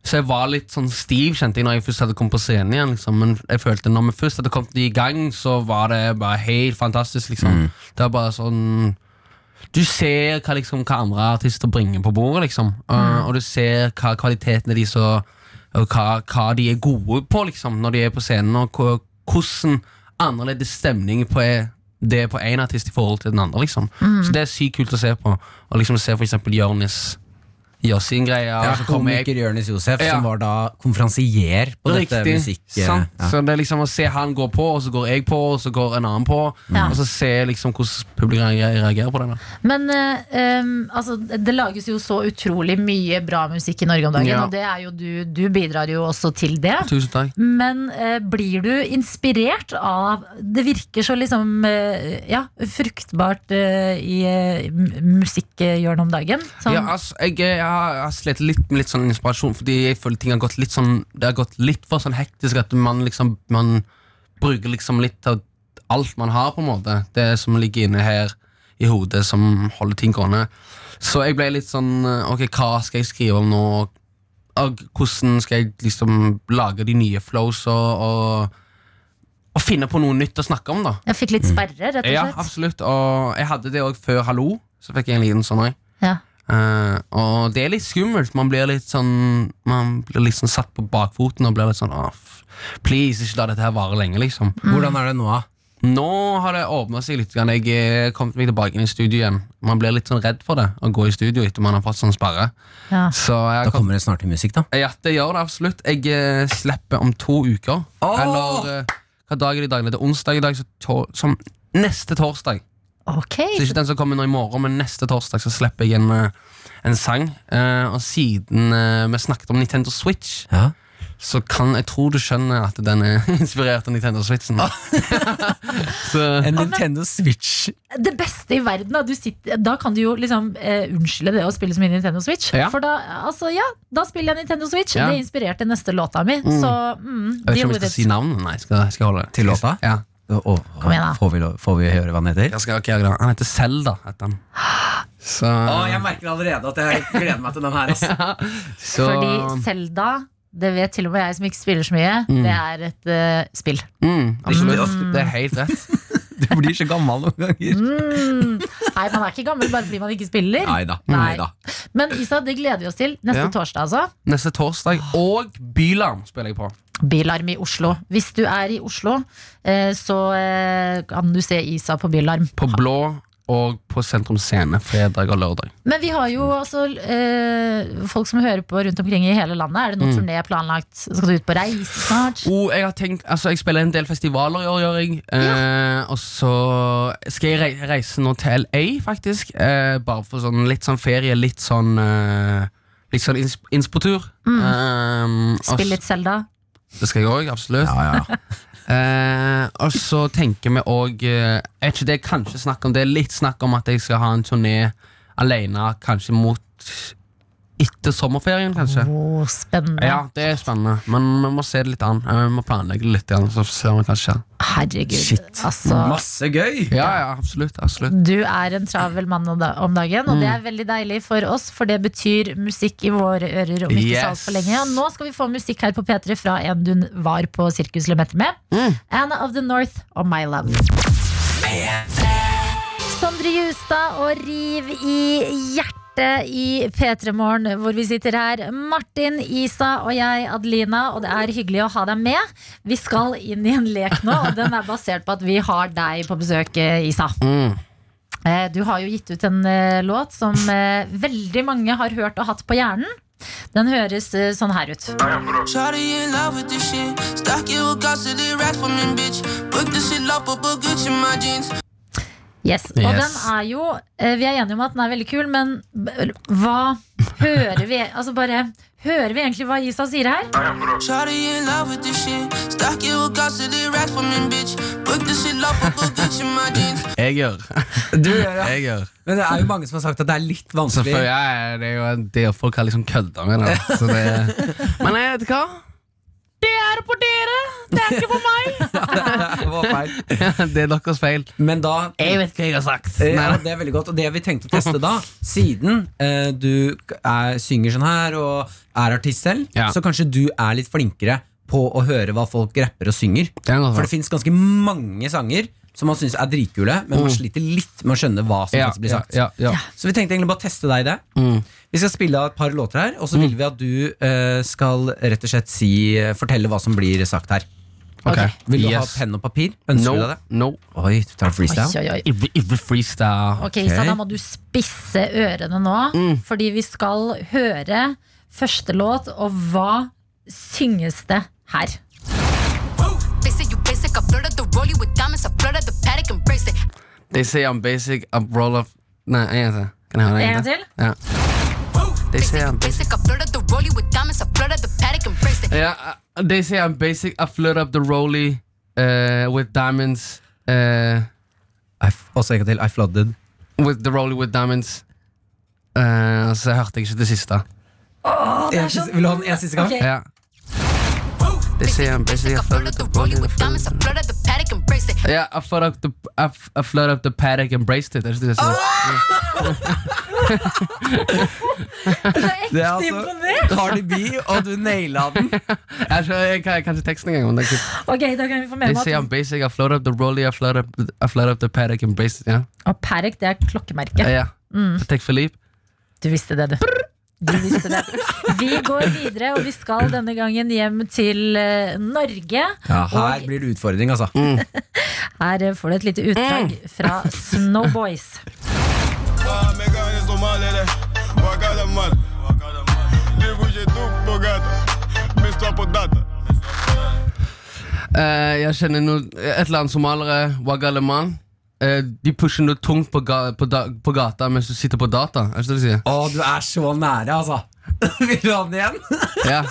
Så jeg var litt sånn stiv kjente jeg når jeg først hadde kommet på scenen igjen. Liksom. Men jeg følte når vi først hadde kommet i gang, så var det bare helt fantastisk. Liksom. Mm. Det var bare sånn Du ser hva, liksom, hva andre artister bringer på bordet, liksom. Og- Mm. og du ser hva kvalitetene de så Og hva, hva de er gode på, liksom, når de er på scenen, og hva, hvordan annerledes stemning på e- det er på én artist i forhold til den andre. liksom Mm. Så Det er sykt kult å se på. Og liksom se for eksempel Jonis gjør sin greie. Ja, og så kommer jeg- komiker Jonis Josef, Ja. som var da konferansier på dette musikk... sant? Ja. Så det er liksom å se han gå på, og så går jeg på, og så går en annen på. Ja. Og så se liksom hvordan publikum reagerer på det. da. Men eh, em, altså, det lages jo så utrolig mye bra musikk i Norge om dagen, Ja. og det er jo du, du bidrar jo også til det. Tusen takk. Men eh, blir du inspirert av Det virker så liksom eh, ja, fruktbart eh, i eh, m- musikkhjørnet om dagen. Sånn, Ja, altså, jeg, jeg har, jeg har slitt litt med litt sånn inspirasjon, fordi jeg føler ting har gått litt sånn Det har gått litt for sånn hektisk at man liksom Man bruker liksom litt av alt man har, på en måte. Det som ligger inne her i hodet, som holder ting gående. Så jeg ble litt sånn eh, Ok, hva skal jeg skrive om nå? Og hvordan skal jeg liksom lage de nye flows og, og, og finne på noe nytt å snakke om, da? Jeg fikk litt sperre, rett og Ja, slett. absolutt. Og jeg hadde det òg før Hallo. Så fikk jeg en liten sånn òg. Ja. Eh, og det er litt skummelt. Man blir litt sånn Man blir litt sånn satt på bakfoten og blir litt sånn «Åh, f- Please, ikke la dette her vare lenge, liksom. Hvordan er det nå, da? Nå har det åpna seg litt. grann. Jeg eh, kom meg tilbake inn i studio igjen. Man blir litt sånn redd for det, å gå i studio etter man har fått sånn sperre. Ja. Så jeg har Da kommer det snart til musikk, da. ja, det gjør det absolutt. Jeg eh, slipper om to uker. Åh! Eller eh, hva dag er det i dag? Det er onsdag i dag, så tor som neste torsdag. Ok, Så ikke den som kommer nå i morgen, men neste torsdag så slipper jeg en, eh, en sang. Eh, og siden eh, vi snakket om Nintendo Switch, Ja. så kan jeg tror du skjønner at den er inspirert av Nintendo Switchen. så En Nintendo Switch. det beste i verden. Da, du sitter, da kan du jo liksom eh, unnskylde det å spille så mye Nintendo Switch. Ja. For da, altså, ja, da spiller jeg Nintendo Switch. Ja. Det inspirerte neste låta mi. Så mm, jeg vet ikke deal om jeg with skal it. si navnet. Nei, skal, skal jeg holde det. Til låta? Ja. Å, Kom igjen, da. Får vi, lov- får vi høre hva den heter? Jeg skal, ok, jeg er glad. han heter Selda, heter han. Så, merker allerede at jeg gleder meg til den her. altså. så Fordi Selda, det vet til og med jeg som ikke spiller så mye, det er et eh, spill. mm, Absolutt. Det er helt rett. Du blir så gammel noen ganger. Mm. Nei, man er ikke gammel bare fordi man ikke spiller. Neida, Nei. neida. Men Isa, det gleder vi oss til. Neste Ja. torsdag, altså. Neste torsdag. Og Bylarm spiller jeg på. Bylarm i Oslo. Hvis du er i Oslo, eh, så eh, kan du se Isa på Bylarm. På Blå og på Sentrum Scene fredag og lørdag. Men vi har jo altså eh, folk som hører på rundt omkring i hele landet. Er det noen turné planlagt? Skal du ut på reise snart? Oh, jeg har tenkt, altså jeg spiller en del festivaler i år, gjør jeg. Eh, og så skal jeg rei- reise nå til LA, faktisk. Eh, bare for sånn litt sånn ferie, litt sånn eh, Litt sånn ins innspotur. Eh, og Mm. Spill s- litt Selda. Det skal jeg òg, absolutt. Ja, ja. Eh, og så tenker vi òg eh, Er ikke det kanskje snakk om det? er Litt snakk om at jeg skal ha en turné alene, kanskje mot etter sommerferien, kanskje. Oh, spennende. Ja, det er spennende, men vi må se det litt an. Eh, Vi må planlegge det litt, igjen, så ser vi hva som skjer. Herregud. Shit. Altså. Masse gøy! Ja, ja, absolutt. absolutt. Du er en travel mann om da- om dagen, og det er veldig deilig for oss, for det betyr musikk i våre ører om ikke så Yes. altfor lenge. Og nå skal vi få musikk her på P3 fra en du var på Sirkus Lemaitre med. Anna of the North og My Love. Sondre Justad og Riv i hjertet. I P3 Morgen, hvor vi sitter her. Martin, Isa og jeg, Adelina. Og det er hyggelig å ha deg med. Vi skal inn i en lek nå, og den er basert på at vi har deg på besøk, eh, Isa. Eh, Du har jo gitt ut en eh, låt som eh, veldig mange har hørt og hatt på hjernen. Den høres eh, sånn her ut. Shawty in love with this shit. Stock you with gossip, it rap for me, bitch. Book this shit up, up, up, Gucci, my jeans. Yes. Og Yes. den er jo eh, Vi er enige om at den er veldig kul, men b- hva hører vi Altså bare Hører vi egentlig hva Isa sier her? Shawty in love with this shit. Stock you with gossip, it rap for me, bitch. Book this shit up, up, up, Gucci, my jeans. Jeg gjør. Du, ja, ja. Jeg gjør. Men det er jo mange som har sagt at det er litt Så for vanskelig. jeg, det er jo en del folk har liksom kødda med det. Så det men jeg vet hva? Det var feil. Det er deres feil. Men da Jeg vet hva jeg har sagt. Eh, Nei, Ja, nei. det er veldig godt, og det vi tenkte å teste da Siden eh, du k- er, synger sånn her og er artist selv Ja. Så kanskje du er litt flinkere på å høre hva folk rapper og synger Det er noe For sånt. det finnes ganske mange sanger som man synes er dritkule Men man sliter litt med å skjønne hva som Mm. Ja, faktisk blir sagt ja, ja, Mm. ja. Så vi tenkte egentlig bare teste deg i det Vi skal spille av et par låter Mm. eh, her Og så vil vi at du eh, skal rett og slett si, fortelle hva som blir sagt her Ok. Vil du Yes. ha penn og papir? Ønsker No, du deg det? no. Oi, du tar freestyle? Oi, oi, oi. Ikke ikke freestyle. Ok, så da må du spisse ørene nå, fordi vi skal høre første låt, og hva synges det her? They say you basic, I flirted the rollie with diamonds, I flirted the paddock and braced it. They say I'm basic, I'm roll up Nei, en gang til. Kan jeg ha det En gang til? Ja. They say I'm basic Basic, I flirted the rollie with diamonds, I flirted the paddock and braced it. yeah, uh, They say I'm basic, I flirt up the rollie uh, with diamonds uh, I f- Også en gang til. I flooded. With the rollie with diamonds uh, Så hørte jeg ikke det siste. En siste- Vil du ha den en siste gang? sånn- Ok. Ja. They say I'm basic, I flirt up the rollie with diamonds I flirted the paddock and braced it. Yeah, I flirt up the I, f- I flirt up the paddock and braced it. Det er ikke det jeg sier. Det er altså Cardi B, og du naila den. Jeg tror- Jeg kan jeg kan ikke teksten engang. men det er kult. Ok, da kan vi få med They meg say I'm at basic, I flirt up the rollie, I flirt up, I flirt up the paddock and braced it. Ja, Og Perk, det er klokkemerket. ja. Take Philippe. Du visste det, du. Du visste det. Vi går videre, og vi skal denne gangen hjem til eh, Norge. Ja, her blir det utfordring, altså. Her eh, får du et lite utdrag fra Snowboys. Eh, jeg kjenner noe, et eller annet somalere, Wagaleman. Eh, de pusher noe tungt på, ga, på, da, på gata mens du sitter på data. Er ikke det du sier? Å, du er så nære, altså. Vil du ha den igjen? Ja.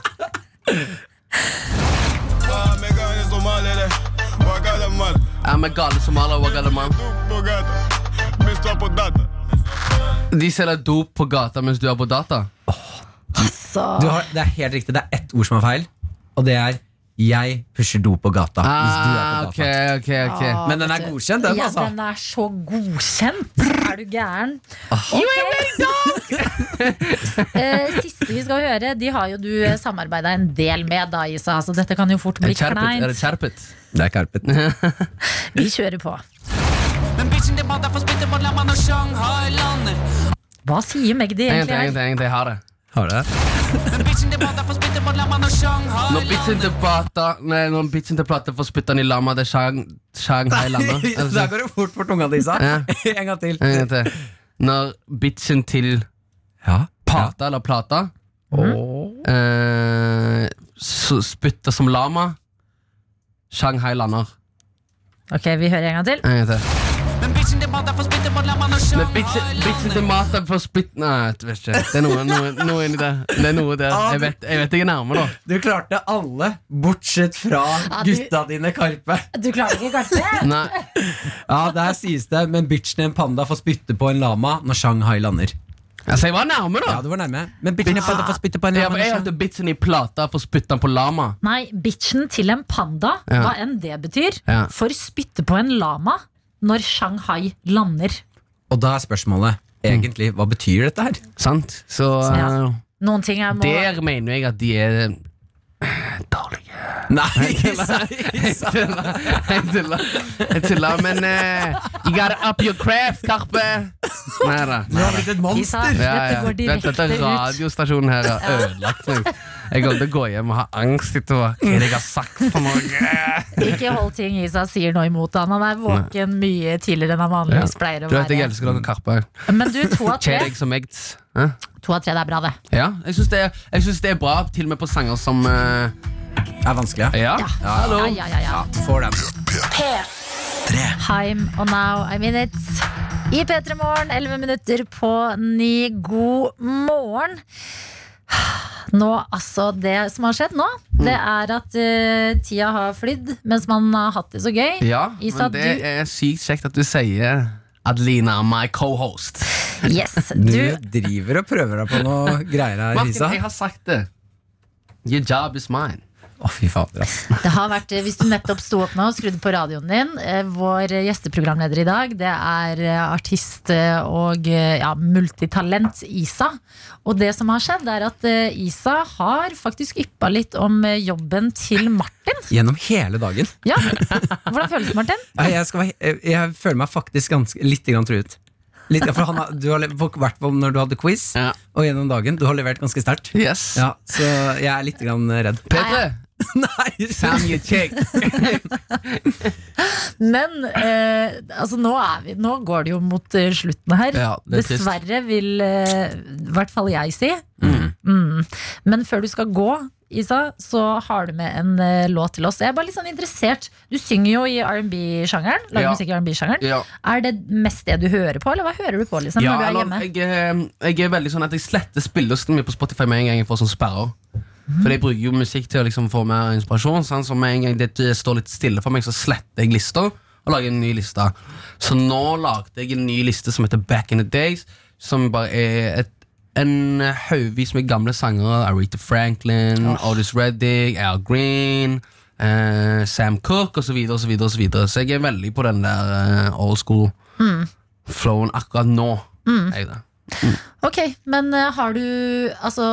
I'm a gale somaler, Wagaleman. De selger dop på gata mens du er på data. Så Du har, det er helt riktig. Det er ett ord som er feil, og det er 'jeg pusher do på gata'. hvis du er Ah, på ok, gata. ok, ok Men den er godkjent, den, Ah, Ja, altså. den er så godkjent! Er du gæren? You Eh, Siste vi skal høre, de har jo du samarbeida en del med, da, Isa. Så dette kan jo fort Er bli det Kjerpet? Er kleint. det kjerpet? Det er karpet. Mhm. Vi kjører på. Men bitchen din vant er for spytte på Lamman og Shanghai lander. Hva sier Magdi egentlig? Egentlig, her? egentlig, egentlig, jeg har det. Har du det? Men bitchen din vant er for spytte på Lamman og Shanghai Når bitchen til plata Nei, når bitchen til plata får spytta den i lama, det er Shang, Shanghai lama. Er det Der sånn? går det fort for tunga di, Isa. Ja. En gang til. En gang til. Når bitchen til Ja. pata eller plata eh, så spytter som lama Shanghai lander. Ok, vi hører en gang til. En gang til. Men bitchen din vant er for spytte på Lamman og Men Shanghai bitchen, bitchen til lander. mata får spytt... Nei, jeg vet ikke. Det er noe, noe, noe inni der. Det er noe der. Jeg vet, jeg vet jeg er nærme, da. Du klarte alle, bortsett fra Ja, Ah, du- gutta dine, Karpe. Du klarer ikke, kanskje? Nei. Ja, der sies det, men bitchen en panda får spytte på en lama når Shanghai lander. Altså, jeg var nærme, da. Ja, du var nærme. Men bitchen en panda får spytte på en Ja, lama for når jeg Shanghai hørte bitchen i plata får spytte den på lama. Nei, bitchen til en panda, Ja. hva enn det betyr, Ja. får spytte på en lama når Shanghai lander. Og da er spørsmålet egentlig, hva betyr dette her? Sant? Så Ja. eh, Noen ting jeg må der mener jeg at de er dårlige. Nei, Isa. Jeg tuller. Jeg tuller, men eh, You gotta up your craft, Karpe. Nei da. Du har blitt et Isa, monster. Ja, dette ja. går direkte Dette ut. radiostasjonen her har ødelagt meg. Jeg kommer til å gå hjem og ha angst etter hva hva jeg har sagt for noe. Ikke hold ting Isa sier nå imot han. Han er våken mye tidligere enn han vanligvis pleier å Du vet jeg være. elsker dere, Karpe. Men du, to av tre, Kjær deg som eggs. Hæ? to av tre det er bra, det. Ja, jeg syns det, er- jeg synes det er bra, til og med på sanger som eh, Det er vanskelig, ja. Ja. Hallo. Ja, ja, ja, ja. Du får den. Heim og now I'm in it. I P3 Morgen, 11 minutter på ni. God morgen. Nå, altså, det som har skjedd nå, Mm. det er at eh, tida har flydd mens man har hatt det så gøy. Ja, Isa, men det du- er sykt kjekt at du sier Adelina, my co-host. Yes, Du du driver og prøver deg på noe greier her, Martin, Isa. jeg har sagt det. Your job is mine. Å, fy fader, ass. Det har vært, eh, Hvis du nettopp sto opp nå og skrudde på radioen din eh, Vår gjesteprogramleder i dag Det er eh, artist eh, og eh, ja, multitalent Isa Og det som har skjedd er at eh, Isa har faktisk yppa litt om eh, jobben til Martin Gjennom hele dagen. Ja, Hvordan føles det Martin? Nei, Jeg, skal, være- jeg, jeg føler meg faktisk ganske, litt grann truet. Litt, for han, har- du har le- vært på når du hadde quiz, Ja. og gjennom dagen. Du har levert ganske sterkt. Yes. Ja, så jeg er litt grann redd. Petre, Nei, Sam, you chick. Men eh, altså nå, er vi, nå går det jo mot eh, slutten her. Ja, det er trist. Dessverre, vil eh, i hvert fall jeg si. Mm. Men før du skal gå, Isa, så har du med en eh, låt til oss. Jeg er bare litt sånn interessert. Du synger jo i R&B-sjangeren. Lager Ja. musikk i R&B-sjangeren. Ja. Er det mest det du hører på, eller hva hører du på liksom, når Ja, du er hjemme? eller, jeg, eh, jeg er veldig sånn at jeg sletter spillelisten min på Spotify med en gang jeg får sånn sperrer. For jeg bruker jo musikk til å liksom få mer inspirasjon. Sant? Så med en gang det står litt stille for meg, så sletter jeg lister og lager en ny liste. Så nå lagde jeg en ny liste som heter Back in the Days, som bare er et en haugvis med gamle sangere. Aretha Franklin, Otis Reddick, Al Green, eh, Sam Cooke osv. Så, videre, og så, videre, og så, videre. så jeg er veldig på den der eh, old school flowen akkurat nå. er jeg det. Ok, men eh, har du Altså,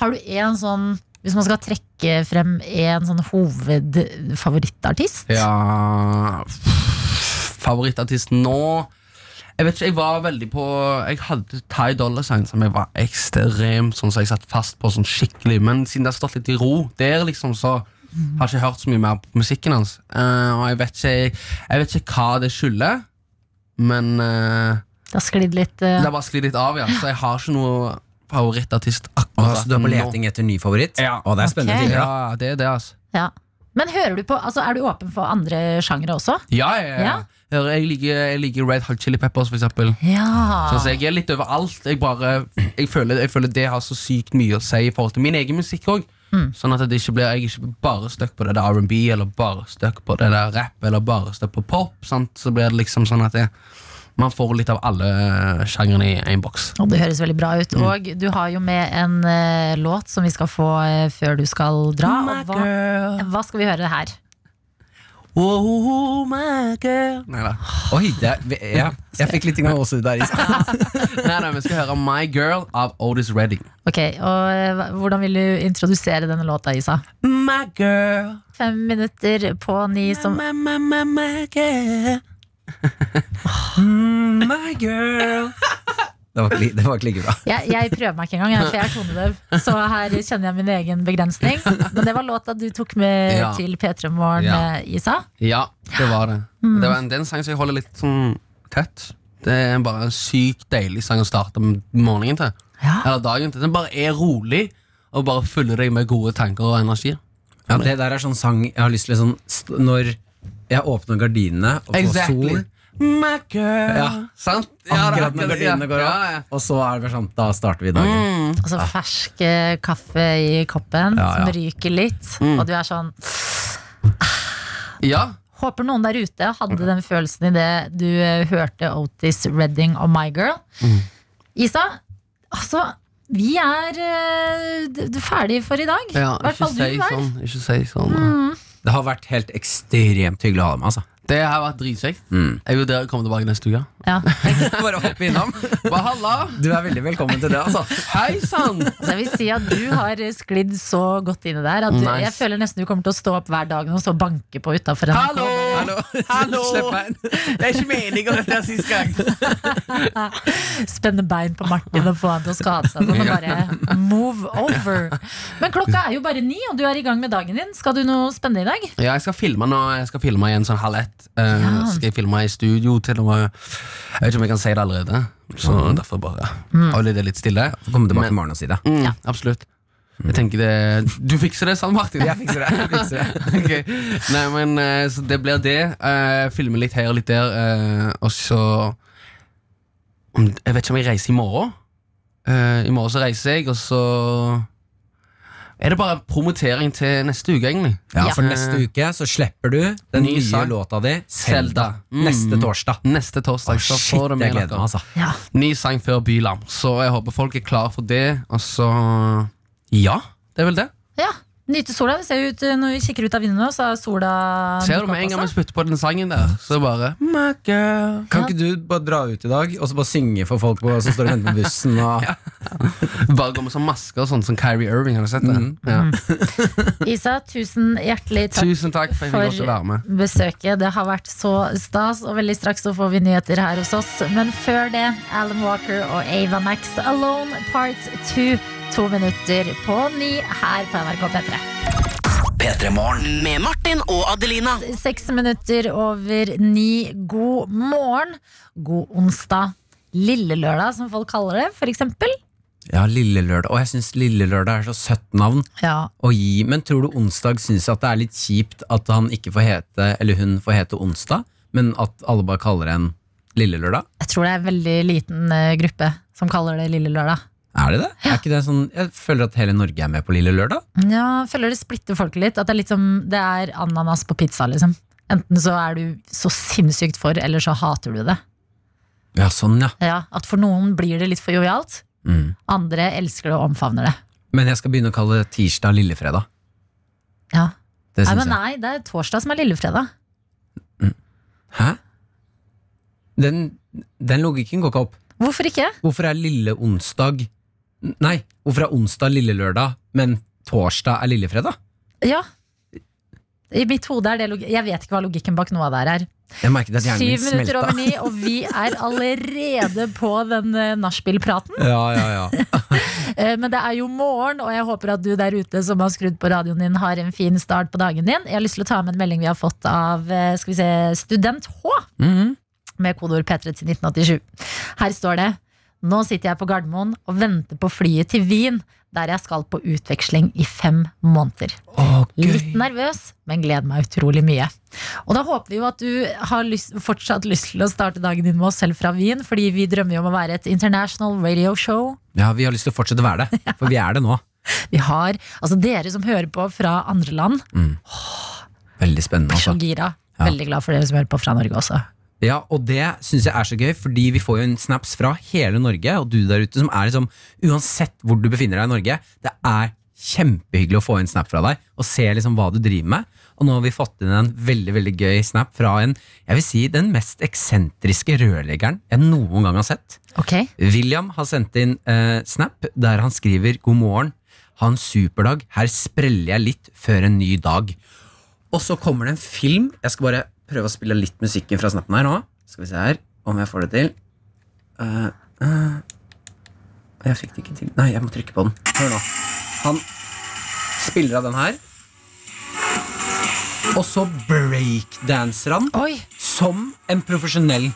har du en sånn Hvis man skal trekke frem en sånn hovedfavorittartist? Ja f- Favorittartisten nå Jeg vet ikke, jeg var veldig på Jeg hadde Ty Dolla Sign som jeg var ekstremt Sånn som jeg satt fast på sånn skikkelig Men siden det har stått litt i ro der liksom så har jeg ikke hørt så mye mer på musikken hans Eh, Og jeg vet ikke Jeg vet ikke hva det skylder Men eh, Det har sklidd litt eh, det har bare sklitt litt av ja. Så jeg har ikke noe favorittartist Å, akkurat så altså, du er på nå. leting etter ny favoritt? Ja. Å, det er spennende Ok. tider, da. Ja, det er det altså Ja. Men hører du på Altså, er du åpen for andre sjangere også? Ja, ja, ja. Ja. Hører, Jeg, liker, jeg liker Red Hot Chili Peppers, for eksempel. Ja. Sånn, så jeg er litt overalt. Jeg, bare, jeg, føler, jeg føler det har så sykt mye å si i forhold til min egen musikk òg. Sånn at det ikke blir, jeg ikke blir bare stuck på det der R&B, eller bare stuck på det der rap, eller bare stuck på pop. Sant? Så blir det liksom sånn at det, man får litt av alle sjangrene i én boks. Og det høres veldig bra ut. Mm. Og du har jo med en eh, låt som vi skal få eh, før du skal dra. Og hva, hva skal vi høre her? Oh, my girl. Nei da. Oi, det er, ja, jeg fikk litt gåsehud der. Isak. Nei, nei, vi skal høre My Girl av Otis Redding. Ok, og eh, hva- Hvordan vil du introdusere denne låta, Isa? My girl. Fem minutter på ni som My, my, my, my girl. Mm, My girl. Det var, ikke li- det var ikke like bra. Jeg, jeg prøver meg ikke engang, jeg, for jeg er tonedøv. Så her kjenner jeg min egen begrensning. Men det var låta du tok med Ja. til P3 Morgen, Ja. eh, Isa. Ja, det var det. Det var en, det er en sang som jeg holder litt sånn tett. Det er bare en sykt deilig sang å starte m- morgenen til. Ja. Eller dagen til. Den bare er rolig, og bare fyller deg med gode tanker og energi. Ja, det der er sånn sang jeg har lyst til sånn, st- Når jeg åpner gardinene og får sol My girl. Ja. Sant? Ja, det er Akkurat når det, ja. gardinene går opp, Ja, ja. og så er det bare sånn Da starter vi dagen. Mm. Altså fersk eh, kaffe i koppen Ja, ja. som ryker litt, Mm. og du er sånn ja. Håper noen der ute Mm. hadde den følelsen idet du eh, hørte Otis Redding og My Girl. Mm. Isa, altså vi er eh, d- d- ferdig for i dag. I ja. hvert Ikke fall du si er. sånn. Ikke si sånn. Det har vært helt ekstremt hyggelig å ha deg med. Altså. Det har vært dritkjekt. Mm. Jeg vurderer å komme tilbake neste uke. Ja. Bare hoppe innom. Bare halla! Du er veldig velkommen til det. Altså. Hei sann! Så jeg vil si at du har eh, sklidd så godt inn i det her at du, Nice. jeg føler nesten du kommer til å stå opp hver dag og så banke på utafor Hallo! Hallo! Det er ikke meningen at dette er siste gang. Spenne bein på Martin og få han til å skade seg. Sånn, og bare move over. Men klokka er jo bare ni, og du er i gang med dagen din. Skal du noe spennende i dag? Ja, jeg skal filme nå. Jeg skal filme i en sånn halv ett. Eh, så Skal jeg filme i studio til og med Jeg vet ikke om jeg kan si det allerede. Så derfor bare holder jeg det litt stille. Komme tilbake i morgen og si det. Mm, Absolutt. Jeg tenker det Du fikser det, sant, Martin? Jeg fikser det. Jeg fikser det. Ok. Nei, men eh, Så det blir det. Eh, filme litt her og litt der, eh, og så om, Jeg vet ikke om jeg reiser i morgen. Eh, I morgen så reiser jeg, og så er det bare promotering til neste uke, egentlig. Ja, for neste uke så slipper du den Ny nye sang. låta di, Selda, Zelda. Mm. neste torsdag. Neste torsdag. så Shit, får du med jeg gleder meg, dere. altså. Ja. Ny sang før Bylarm, så jeg håper folk er klare for det. Og så Ja, det er vel det. ja. Nyte sola. Det ser jo ut eh, Når vi kikker ut av vinduet nå, så er sola Ser du med en gang vi spytter på den sangen der, så bare My girl. Kan ikke du bare dra ut i dag og så bare synge for folk på, som står og venter på bussen? Og... Bare går med sånn masker og sånn som Kyrie Irving. Har du sett det? Mm. Ja. Isa, tusen hjertelig takk. Tusen takk for at jeg fikk lov til å være med. For besøket. Det har vært så stas, og veldig straks så får vi nyheter her hos oss. Men før det, Alan Walker og Ava Max Alone Part 2. To minutter på ni her på NRK P3. P3morgen. Med Martin og Adelina. Seks minutter over ni. God morgen. God onsdag. Lille lørdag, som folk kaller det, for eksempel. Ja, Lille Lørdag. Og jeg syns Lille Lørdag er så søtt navn Ja. å gi. Men tror du Onsdag syns at det er litt kjipt at han ikke får hete, eller hun får hete Onsdag, men at alle bare kaller en Lille Lørdag? Jeg tror det er en veldig liten eh, gruppe som kaller det Lille lørdag. Er det det? Er ikke det sånn, jeg føler at hele Norge er med på Lille Lørdag. Ja, jeg føler det splitter folk litt. At det er litt som det er ananas på pizza, liksom. Enten så er du så sinnssykt for, eller så hater du det. Ja, sånn, ja. Ja, At for noen blir det litt for jovialt. Mm. Andre elsker det og omfavner det. Men jeg skal begynne å kalle det tirsdag Lillefredag. Ja. Det Nei, syns men jeg. nei, det er torsdag som er lillefredag. Hæ? Den, den logikken går ikke opp. Hvorfor ikke? Hvorfor er lille onsdag N- Nei, hvorfor er onsdag lille lørdag, men torsdag er lillefredag? Ja. I mitt hode er det log Jeg vet ikke hva logikken bak noe av det her er. Jeg merket at hjernen min Syv minutter smelta. over ni, og vi er allerede på den eh, nachspiel-praten. Ja, ja, ja. Eh, Men det er jo morgen, og jeg håper at du der ute som har skrudd på radioen din, har en fin start på dagen din. Jeg har lyst til å ta med en melding vi har fått av eh, skal vi se, student H. Mhm. Med kodeord P3 til 1987. Her står det Nå sitter jeg på Gardermoen og venter på flyet til Wien, der jeg skal på utveksling i fem måneder. Å, Litt gøy. nervøs, men gleder meg utrolig mye. Og da håper vi jo at du har lyst, fortsatt lyst til å starte dagen din med oss selv fra Wien, fordi vi drømmer jo om å være et international radio show. Ja, vi har lyst til å fortsette å være det, for vi er det nå. Vi har, altså Dere som hører på fra andre land, Veldig spennende. så Altså. gira. Veldig glad for dere som hører på fra Norge også. Ja, og det syns jeg er så gøy, fordi vi får jo inn snaps fra hele Norge, og du der ute som er liksom Uansett hvor du befinner deg i Norge, det er kjempehyggelig å få en snap fra deg og se liksom hva du driver med. Og nå har vi fått inn en veldig veldig gøy snap fra en, jeg vil si, den mest eksentriske rørleggeren jeg noen gang har sett. Ok, William har sendt inn eh, snap der han skriver 'God morgen, ha en superdag, her spreller jeg litt før en ny dag'. Og så kommer det en film. Jeg skal bare prøve å spille litt musikken fra snappen her nå. Skal vi se her, om jeg får det til. Eh, eh, jeg fikk det ikke til. Nei, jeg må trykke på den. Hør nå. Han spiller av den her. Og så breakdanser han Oi, som en profesjonell.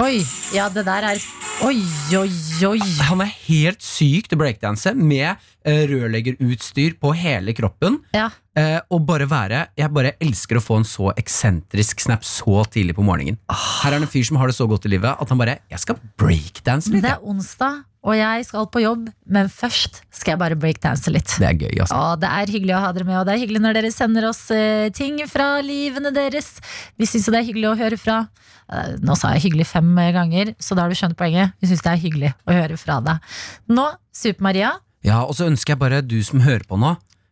oi, ja det der er Oi, oi, oi. Han er helt syk til breakdance med eh, rørleggerutstyr på hele kroppen. Ja, Eh, og bare være Jeg bare elsker å få en så eksentrisk snap så tidlig på morgenen. Her er det en fyr som har det så godt i livet at han bare Jeg skal breakdance litt. Det jeg." er onsdag, og jeg skal på jobb, men først skal jeg bare breakdanse litt. Det er gøy, altså. Ja, det er hyggelig å ha dere med, og det er hyggelig når dere sender oss eh, ting fra livene deres. Vi syns jo det er hyggelig å høre fra. Eh, nå sa jeg hyggelig fem eh, ganger, så da har du skjønt poenget. Vi syns det er hyggelig å høre fra deg. Nå, Super-Maria. Ja, og så ønsker jeg bare du som hører på nå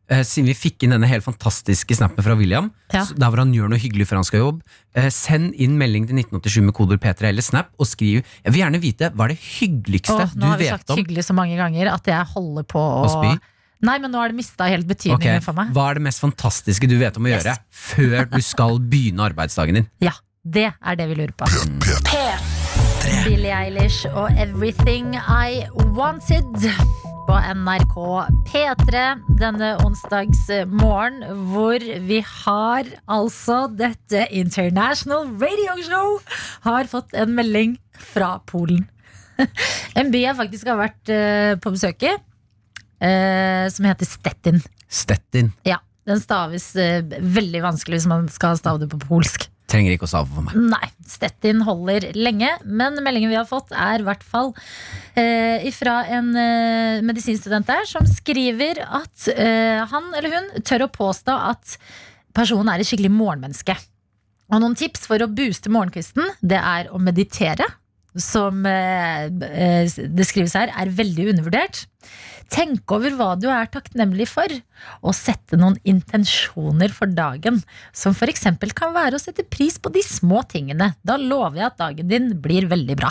eh, Siden vi fikk inn denne helt fantastiske snappen fra William Ja. så Der hvor han gjør noe hyggelig før han skal jobbe eh, Send inn melding til 1987 med koder P3 eller snap Og skriv Jeg vil gjerne vite hva er det hyggeligste Åh, du nå har vi vet sagt om hyggelig så mange ganger at jeg holder på å Å spy? Nei, men nå har det mista helt betydningen Ok, for meg. Hva er det mest fantastiske du vet om å gjøre Før du skal begynne arbeidsdagen din Ja, det er det vi lurer på. Billie Eilish og 'Everything I Wanted' på NRK P3 denne onsdagsmorgen, hvor vi har altså dette International Radio Show har fått en melding fra Polen. En by jeg faktisk har vært eh, på besøk i, eh, som heter Stettin. Stettin Ja, den staves eh, veldig vanskelig hvis man skal stave det på polsk. Trenger ikke å save for meg Nei, Stettin holder lenge, men meldingen vi har fått er i hvert fall eh, fra en eh, medisinstudent der som skriver at eh, han eller hun tør å påstå at personen er et skikkelig morgenmenneske. Og noen tips for å booste morgenkvisten, det er å meditere, som eh, eh, det skrives her, er veldig undervurdert. Tenk over hva du er takknemlig for, og sette noen intensjoner for dagen, som f.eks. kan være å sette pris på de små tingene. Da lover jeg at dagen din blir veldig bra.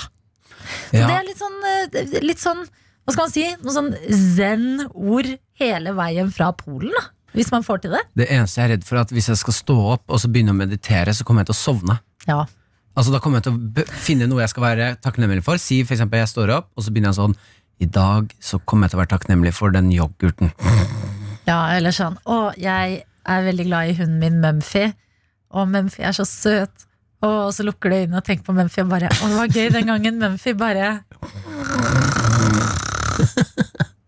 Så Ja. Det er litt sånn, eh, litt sånn hva skal man si, noen sånn zen-ord hele veien fra Polen, da. Hvis man får til det. Det eneste jeg er redd for er at hvis jeg skal stå opp Og så begynne å meditere så kommer jeg til å sovne Ja. Altså Da kommer jeg til å b- finne noe jeg skal være takknemlig for. Si for eksempel jeg står opp, og så begynner jeg sånn I dag så kommer jeg til å være takknemlig for den yoghurten. Ja, eller sånn Å, jeg er veldig glad i hunden min Mumphy. Å, Mumphy er så søt. Å, og så lukker du øynene og tenker på Mumphy og bare Å, det var gøy den gangen Mumphy bare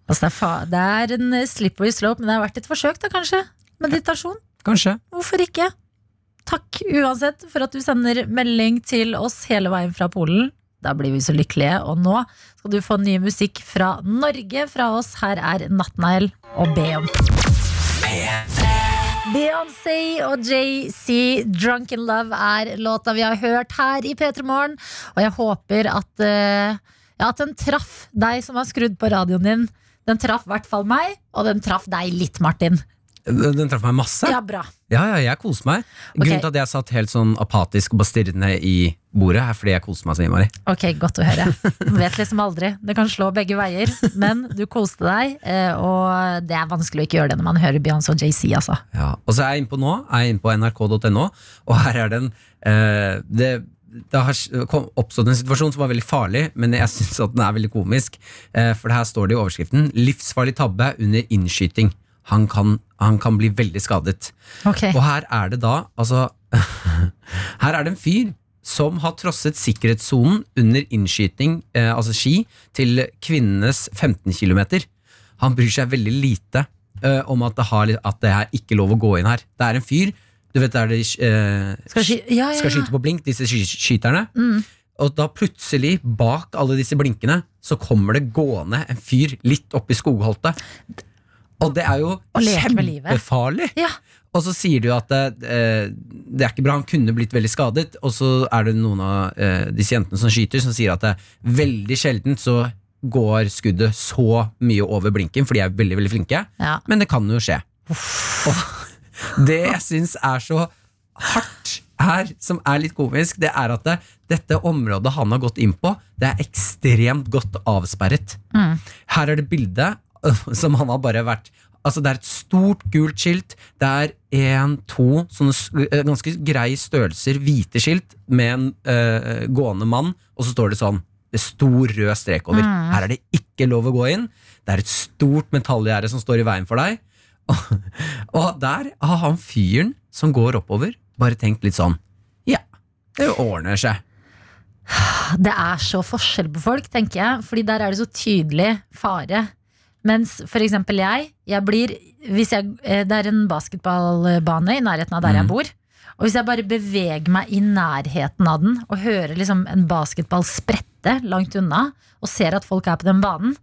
Altså, det er, fa det er en eh, slippery slope, men det har vært et forsøk, da, kanskje? Meditasjon? Kanskje. Hvorfor ikke? Takk uansett for at du sender melding til oss hele veien fra Polen. Da blir vi så lykkelige. Og nå skal du få ny musikk fra Norge fra oss. Her er Nattnegl og Beon. Beyoncé og JC, 'Drunk in Love', er låta vi har hørt her i P3 Morgen. Og jeg håper at, eh, ja, at den traff deg som har skrudd på radioen din. Den traff i hvert fall meg, og den traff deg litt, Martin. Den den traff meg masse. Ja, bra. Ja, ja, jeg koser meg. Ok. Grunnen til at jeg satt helt sånn apatisk og bare stirret ned i bordet, er fordi jeg koser meg så innmari. Ok, godt å høre. Man vet liksom aldri. Det kan slå begge veier. Men du koste deg, eh, og det er vanskelig å ikke gjøre det når man hører Beyoncé og JC, altså. Ja. Og så er jeg inne på nå, er jeg inne på nrk.no, og her er den eh, det, det har s- kom, oppstått en situasjon som var veldig farlig, men jeg syns at den er veldig komisk. Eh, for her står det i overskriften 'Livsfarlig tabbe under innskyting'. Han kan, han kan bli veldig skadet. Ok. Og her er det da altså, Her er det en fyr som har trosset sikkerhetssonen under innskyting, eh, altså ski, til kvinnenes 15 km. Han bryr seg veldig lite eh, om at det, har, at det er ikke lov å gå inn her. Det er en fyr Du vet, det er det eh, Skal sky- ja, ja, skal ja. Mm. skyte på blink, disse sky skyterne. Og da plutselig, bak alle disse blinkene, så kommer det gående en fyr litt oppi skogholtet. Og det er jo Og leker med livet. kjempefarlig! Ja. Og så sier du at eh, det er ikke bra, han kunne blitt veldig skadet. Og så er det noen av eh, disse jentene som skyter, som sier at det er veldig sjeldent så går skuddet så mye over blinken, for de er veldig, veldig flinke. ja. Men det kan jo skje. Og det jeg syns er så hardt her, som er litt komisk, det er at det, dette området han har gått inn på, det er ekstremt godt avsperret. Her er det bilde øh, som han har bare vært Altså Det er et stort gult skilt. Det er én, to sånne s- øh, ganske greie størrelser, hvite skilt, med en øh, gående mann, og så står det sånn det er stor rød strek over. Her er det ikke lov å gå inn. Det er et stort metallgjerde som står i veien for deg. Og, og der har han fyren som går oppover, bare tenkt litt sånn Ja, det ordner seg. Det er så forskjell på folk, tenker jeg. Fordi der er det så tydelig fare. Mens for eksempel jeg, jeg blir hvis jeg, eh, Det er en basketballbane i nærheten av der jeg bor. Og hvis jeg bare beveger meg i nærheten av den og hører liksom en basketball sprette langt unna, og ser at folk er på den banen,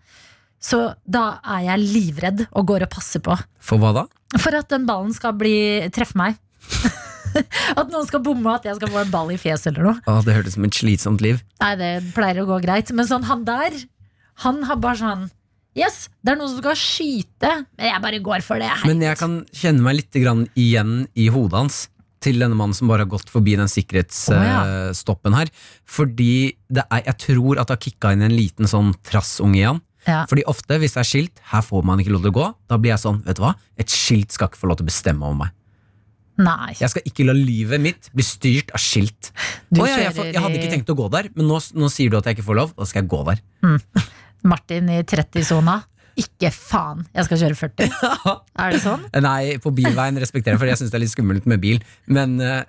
så da er jeg livredd og går og passer på. For hva da? For at den ballen skal bli, treffe meg. at noen skal bomme, og at jeg skal få en ball i fjeset eller noe. Å, det hørtes ut som et slitsomt liv. Nei, det pleier å gå greit. Men sånn, han der, han har bare sånn Yes, det er noen som skal skyte, men jeg bare går for det. Hei. Men jeg kan kjenne meg litt grann igjen i hodet hans til denne mannen som bare har gått forbi den Å, ja. sikkerhetsstoppen her. Fordi det er, jeg tror at det har kicka inn en liten sånn trassunge i han. Ja. Fordi ofte hvis det er skilt, her får man ikke lov til å gå, da blir jeg sånn, vet du hva, et skilt skal ikke få lov til å bestemme over meg. Nei. Jeg skal ikke la livet mitt bli styrt av skilt. Du Å, ja, jeg, får, kjører jeg hadde i- ikke tenkt å gå der, men nå, nå sier du at jeg ikke får lov, da skal jeg gå der. Martin i 30-sona. Ikke faen, jeg skal kjøre 40. Er det sånn? Nei, på bilveien respekterer jeg, for jeg syns det er litt skummelt med bil. Men eh,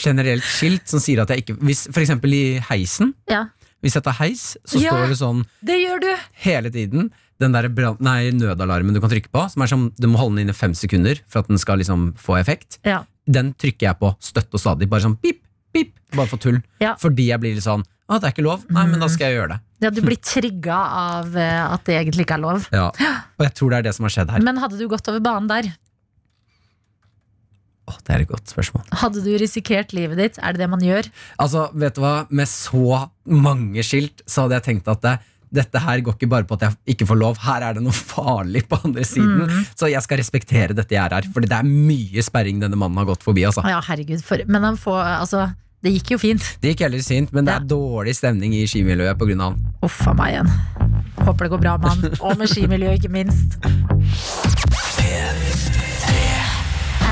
generelt skilt som sier at jeg ikke hvis, For eksempel i heisen. Ja. Hvis jeg tar heis, så Ja. står det sånn Det gjør du! hele tiden. Den der brann- nei, nødalarmen du kan trykke på, som er som du må holde den inne fem sekunder for at den skal liksom få effekt. Ja. Den trykker jeg på støtt og stadig. Bare sånn pip, pip. Bare for tull. Ja. Mm. Fordi jeg blir litt sånn Å, det er ikke lov. Nei, men da skal jeg gjøre det. ja, du blir trigga av eh, at det egentlig ikke er lov. Ja. Og jeg tror det er det som har skjedd her. Men hadde du gått over banen der, Å, det er et godt spørsmål. hadde du risikert livet ditt? Er det det man gjør? Altså, vet du hva? Med så mange skilt så hadde jeg tenkt at det, dette her går ikke bare på at jeg ikke får lov, her er det noe farlig på andre siden. Så jeg skal respektere dette gjerdet her, for det er mye sperring denne mannen har gått forbi. Altså. Ja, herregud. For, men han får Altså, det gikk jo fint. Det gikk heller sint, men det er dårlig stemning i skimiljøet pga. han. Uff a meg igjen. Håper det går bra med han. Og med skimiljøet, ikke minst.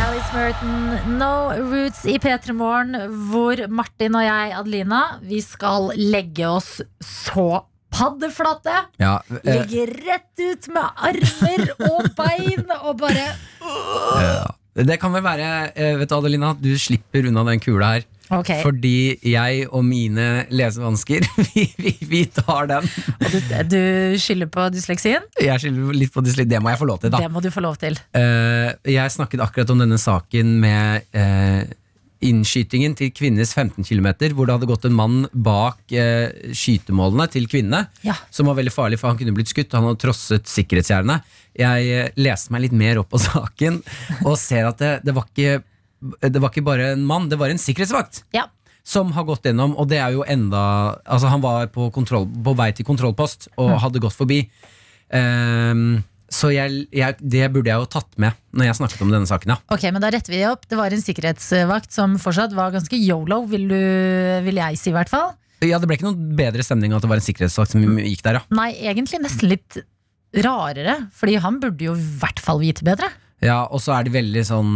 Alice Merton, No Roots i P3 Morgen, hvor Martin og jeg, Adelina, vi skal legge oss så paddeflate. Ja, eh, Ligger rett ut med armer og bein og bare det kan vel være eh, Vet du, Adelina, du slipper unna den kula her. Ok, Fordi jeg og mine lesevansker, vi, vi, vi tar den. Du, du skylder på dysleksien? Jeg skylder litt på dysleksi. Det må jeg få lov til, da. Det må du få lov til. Eh, jeg snakket akkurat om denne saken med eh, innskytingen til kvinnenes 15 km, hvor det hadde gått en mann bak eh, skytemålene til kvinnene, Ja. som var veldig farlig, for han kunne blitt skutt. Han hadde trosset sikkerhetsgjerdene. Jeg eh, leste meg litt mer opp på saken, og ser at det, det, var ikke, det var ikke bare en mann, det var en sikkerhetsvakt. Ja. Som har gått gjennom, og det er jo enda Altså, han var på, kontroll, på vei til kontrollpost og hadde gått forbi. Ehm, så jeg, jeg, det burde jeg jo tatt med når jeg snakket om denne saken, ja. Ok, men da retter vi det opp. Det var en sikkerhetsvakt som fortsatt var ganske yolo, vil, du, vil jeg si i hvert fall. Ja, Det ble ikke noen bedre stemning av at det var en sikkerhetsvakt som gikk der, ja. Nei, egentlig nesten litt rarere, fordi han burde jo i hvert fall vite bedre. ja og så er det veldig sånn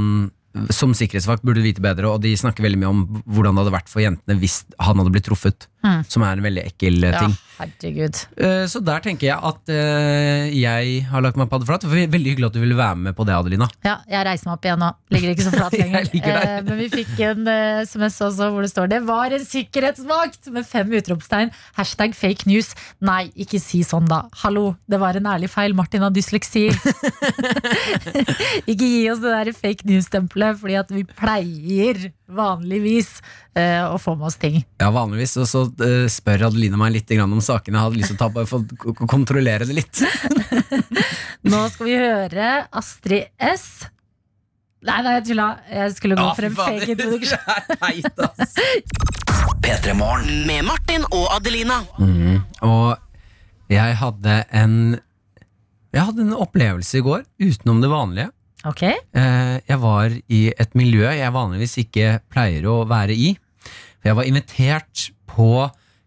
Som sikkerhetsvakt burde du vite bedre, og de snakker veldig mye om hvordan det hadde vært for jentene hvis han hadde blitt truffet, Mm. som er en veldig ekkel eh, Ja, ting. herregud. Eh, Så der tenker jeg at eh, jeg har lagt meg paddeflat. Det var Veldig hyggelig at du ville være med på det, Adelina. Ja, jeg reiser meg opp igjen nå. Ligger ikke så flat lenger. Jeg ligger der. Eh, men vi fikk en eh, SMS også hvor det står 'Det var en sikkerhetsvakt!' med fem utropstegn. Hashtag fake news. Nei, ikke si sånn, da. Hallo, det var en ærlig feil. Martin har dysleksi. ikke gi oss det der fake news-stempelet, fordi at vi pleier vanligvis eh, å få med oss ting. Ja, vanligvis. Og så eh, spør Adeline meg litt grann om sakene jeg hadde lyst til å ta på, for å k- kontrollere det litt. Nå skal vi høre Astrid S. Nei, nei, jeg tulla. Jeg skulle gå frem fake introduksjon. er teit, altså. ass. P3 Morgen. Med Martin og Adelina. Mm-hmm. Og jeg hadde en Jeg hadde en opplevelse i går utenom det vanlige. Ok, Eh, Jeg var i et miljø jeg vanligvis ikke pleier å være i. For jeg var invitert på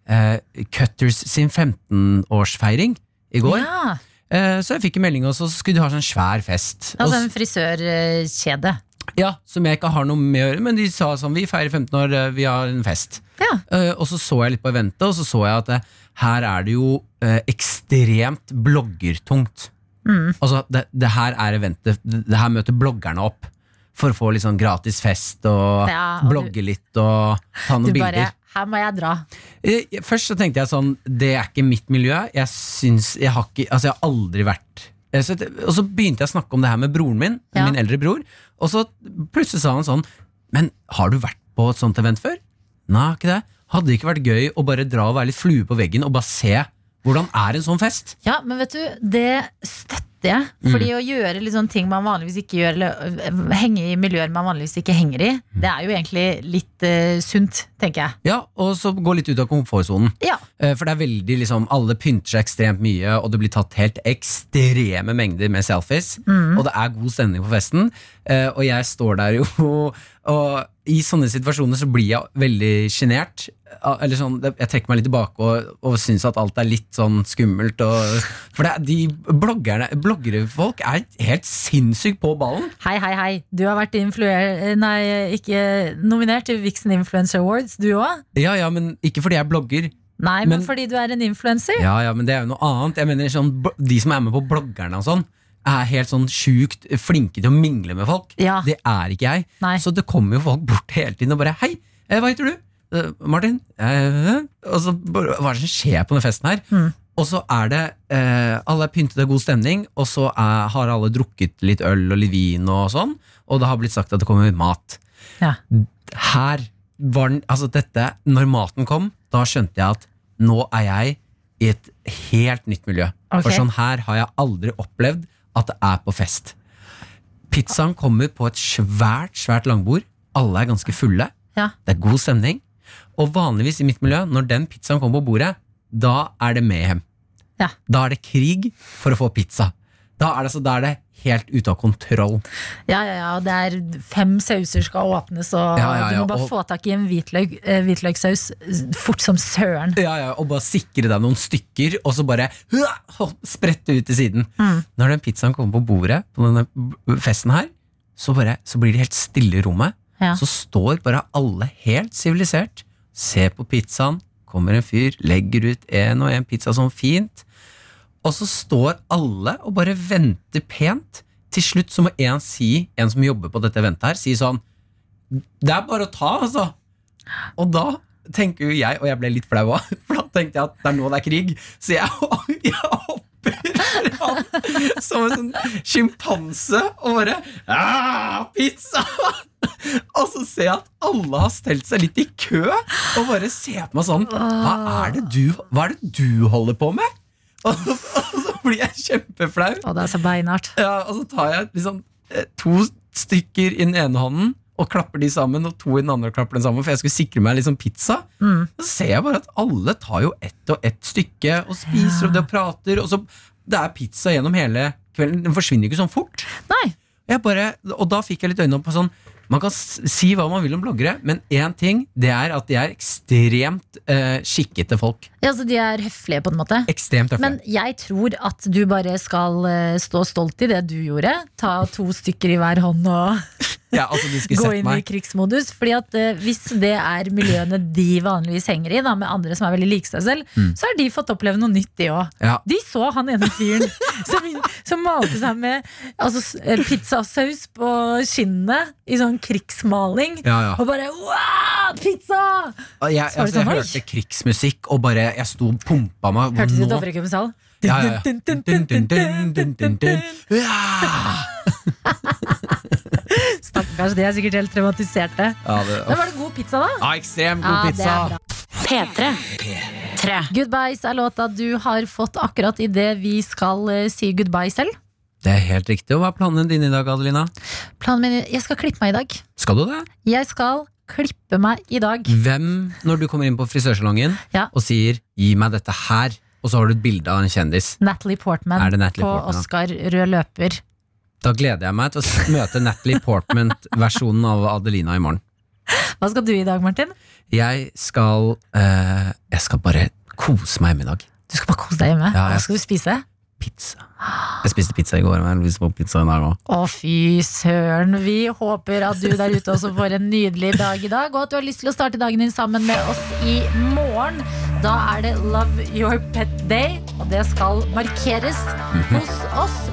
eh, Cutters sin 15-årsfeiring i går. ja. Eh, Så jeg fikk en melding, og så skulle de ha sånn svær fest. Og Altså s- en frisørkjede. Ja, som jeg ikke har noe med å gjøre, men de sa sånn, vi feirer 15 år, eh, vi har en fest. Ja. Eh, og så så jeg litt på eventet, og så så jeg at eh, her er det jo eh, ekstremt bloggertungt. Mm. Altså, det, det her er eventet, det, det her møter bloggerne opp for å få litt sånn gratis fest og, Ja, og du- blogge litt og ta Du noen bilder. bare 'her må jeg dra'. Eh, Først så tenkte jeg sånn Det er ikke mitt miljø Jeg, syns, jeg, har, ikke, altså jeg har aldri vært Eh, så, det- Og så begynte jeg å snakke om det her med broren min Ja. Min eldre bror Og så plutselig sa han sånn Men har du vært på et sånt event før? Nei, ikke det Hadde det ikke vært gøy å bare dra og være litt flue på veggen Og bare se hvordan er en sånn fest? Ja, men vet du, det støtter jeg. Mm. Fordi å gjøre litt sånne ting man vanligvis ikke gjør, eller øh, henge i miljøer man vanligvis ikke henger i, Mm. det er jo egentlig litt eh, sunt, tenker jeg. Ja, og så gå litt ut av komfortzonen Ja. Eh, For det er veldig liksom Alle pynter seg ekstremt mye, og det blir tatt helt ekstreme mengder med selfies. Og det er god stemning på festen. Eh, Og jeg står der jo Og i sånne situasjoner så blir jeg veldig sjenert. Ah, Eller sånn, det- jeg trekker meg litt tilbake og, og syns at alt er litt sånn skummelt. Og, for det, er- de bloggerne, bloggerfolk er helt sinnssykt på ballen. Hei, hei, hei. Du har vært influer... Nei, ikke nominert til Vixen Influencer Awards, du òg? Ja, ja, men ikke fordi jeg blogger. Nei, men, Men- fordi du er en influenser. Ja, ja, men det er jo noe annet. Jeg mener sånn, bl- De som er med på bloggerne og sånn, er helt sånn sjukt flinke til å mingle med folk. Ja. Det er ikke jeg. Nei. Så det kommer jo folk bort hele tiden og bare 'Hei, eh, hva heter du?' Eh, 'Martin.' Eh, eh.» og så bare, Hva er det som skjer på denne festen her? Mm. Og så er det eh, Alle er pyntet av god stemning, og så er, har alle drukket litt øl og litt vin og sånn, og det har blitt sagt at det kommer mat Ja. her var den, altså dette, når maten kom, da skjønte jeg at nå er jeg i et helt nytt miljø. Ok. For sånn her har jeg aldri opplevd at det er på fest. Pizzaen kommer på et svært, svært langbord. Alle er ganske fulle. Ja. Det er god stemning. Og vanligvis i mitt miljø, når den pizzaen kommer på bordet, da er det mayhem. Ja. Da er det krig for å få pizza. Da er det, altså, da er det helt ute av kontroll. Ja, ja, ja, og det er fem sauser skal åpnes, og Ja, ja, du ja, må bare og- få tak i en hvitløk, eh, hvitløkssaus fort som søren. Ja, ja, og bare sikre deg noen stykker, og så bare hua, hopp, sprette ut til siden. Når den pizzaen kommer på bordet på denne b- festen her, så, bare, så blir det helt stille i rommet. Ja. Så står bare alle helt sivilisert, ser på pizzaen, kommer en fyr, legger ut en og en pizza sånn fint, og så står alle og bare venter pent. Til slutt så må en si, en som jobber på dette eventet her, si sånn Det er bare å ta, altså. Og da tenker jo jeg, og jeg ble litt flau òg, for da tenkte jeg at det er nå det er krig. Så jeg, jeg hopper fram som en sånn sjimpanse og bare «Ah, Pizza! Og så ser jeg at alle har stelt seg litt i kø og bare ser på meg sånn Hva er det du, hva er det du holder på med? Og, så- og så blir jeg kjempeflau. Og det er så beinhardt. Ja, og så tar jeg liksom eh, to stykker i den ene hånden og klapper de sammen, og to i den andre og klapper den sammen, for jeg skulle sikre meg liksom pizza. Mm. Så ser jeg bare at alle tar jo ett og ett stykke og spiser opp det og prater, og så det er pizza gjennom hele kvelden. Den forsvinner jo ikke sånn fort. Nei. Jeg bare, og da fikk jeg litt øynene opp på sånn Man kan s- si hva man vil om bloggere, men én ting det er at de er ekstremt eh, skikkete folk. Ja, så de er høflige, på en måte. Ekstremt tøffe. Men jeg tror at du bare skal eh, stå stolt i det du gjorde. Ta to stykker i hver hånd og ja, altså, de skulle gå sett inn i meg. krigsmodus. Fordi at eh, hvis det er miljøene de vanligvis henger i, da, med andre som er veldig like seg selv, Mm. så har de fått oppleve noe nytt, de òg. Ja. De så han ene fyren som, som malte seg med altså, s- eh, pizzasaus på skinnet i sånn krigsmaling. Ja, ja. Og bare wow, pizza! Og Jeg, Så var det altså, jeg sånn, oi. hørte krigsmusikk, og bare jeg sto og pumpa meg. Hørtes ut Nå- som Dovrekumens hall. Ja, ja, ja. Dun, dun, dun, dun, dun, dun. Ja! Stakkars, de er sikkert helt traumatiserte. Ja, det- Men var det god pizza, da? Ja, ekstremt Ja, god det er pizza. bra. P3. P3. Goodbyes er låta du har fått akkurat idet vi skal eh, si goodbye selv. Det er helt riktig. Og Hva er planene dine i dag, Adelina? Planen min Jeg skal klippe meg i dag. Skal du det? Jeg skal klippe meg i dag. Hvem, når du kommer inn på frisørsalongen Ja. og sier 'gi meg dette her', og så har du et bilde av en kjendis, Natalie Portman Er det Natalie på Portman, da? Oscar rød løper. da gleder jeg meg til å s- møte Natalie Portman-versjonen av Adelina i morgen. Hva skal du i dag, Martin? Jeg skal eh, Jeg skal bare kose meg hjemme i dag. Du skal bare kose deg hjemme. Ja, jeg- Hva skal du spise? Pizza. Jeg spiste pizza i går, men jeg har lyst på pizza i dag òg. Å, fy søren. Vi håper at du der ute også får en nydelig dag i dag, og at du har lyst til å starte dagen din sammen med oss i morgen. Da Mhm. er det Love Your Pet Day, og det skal markeres hos oss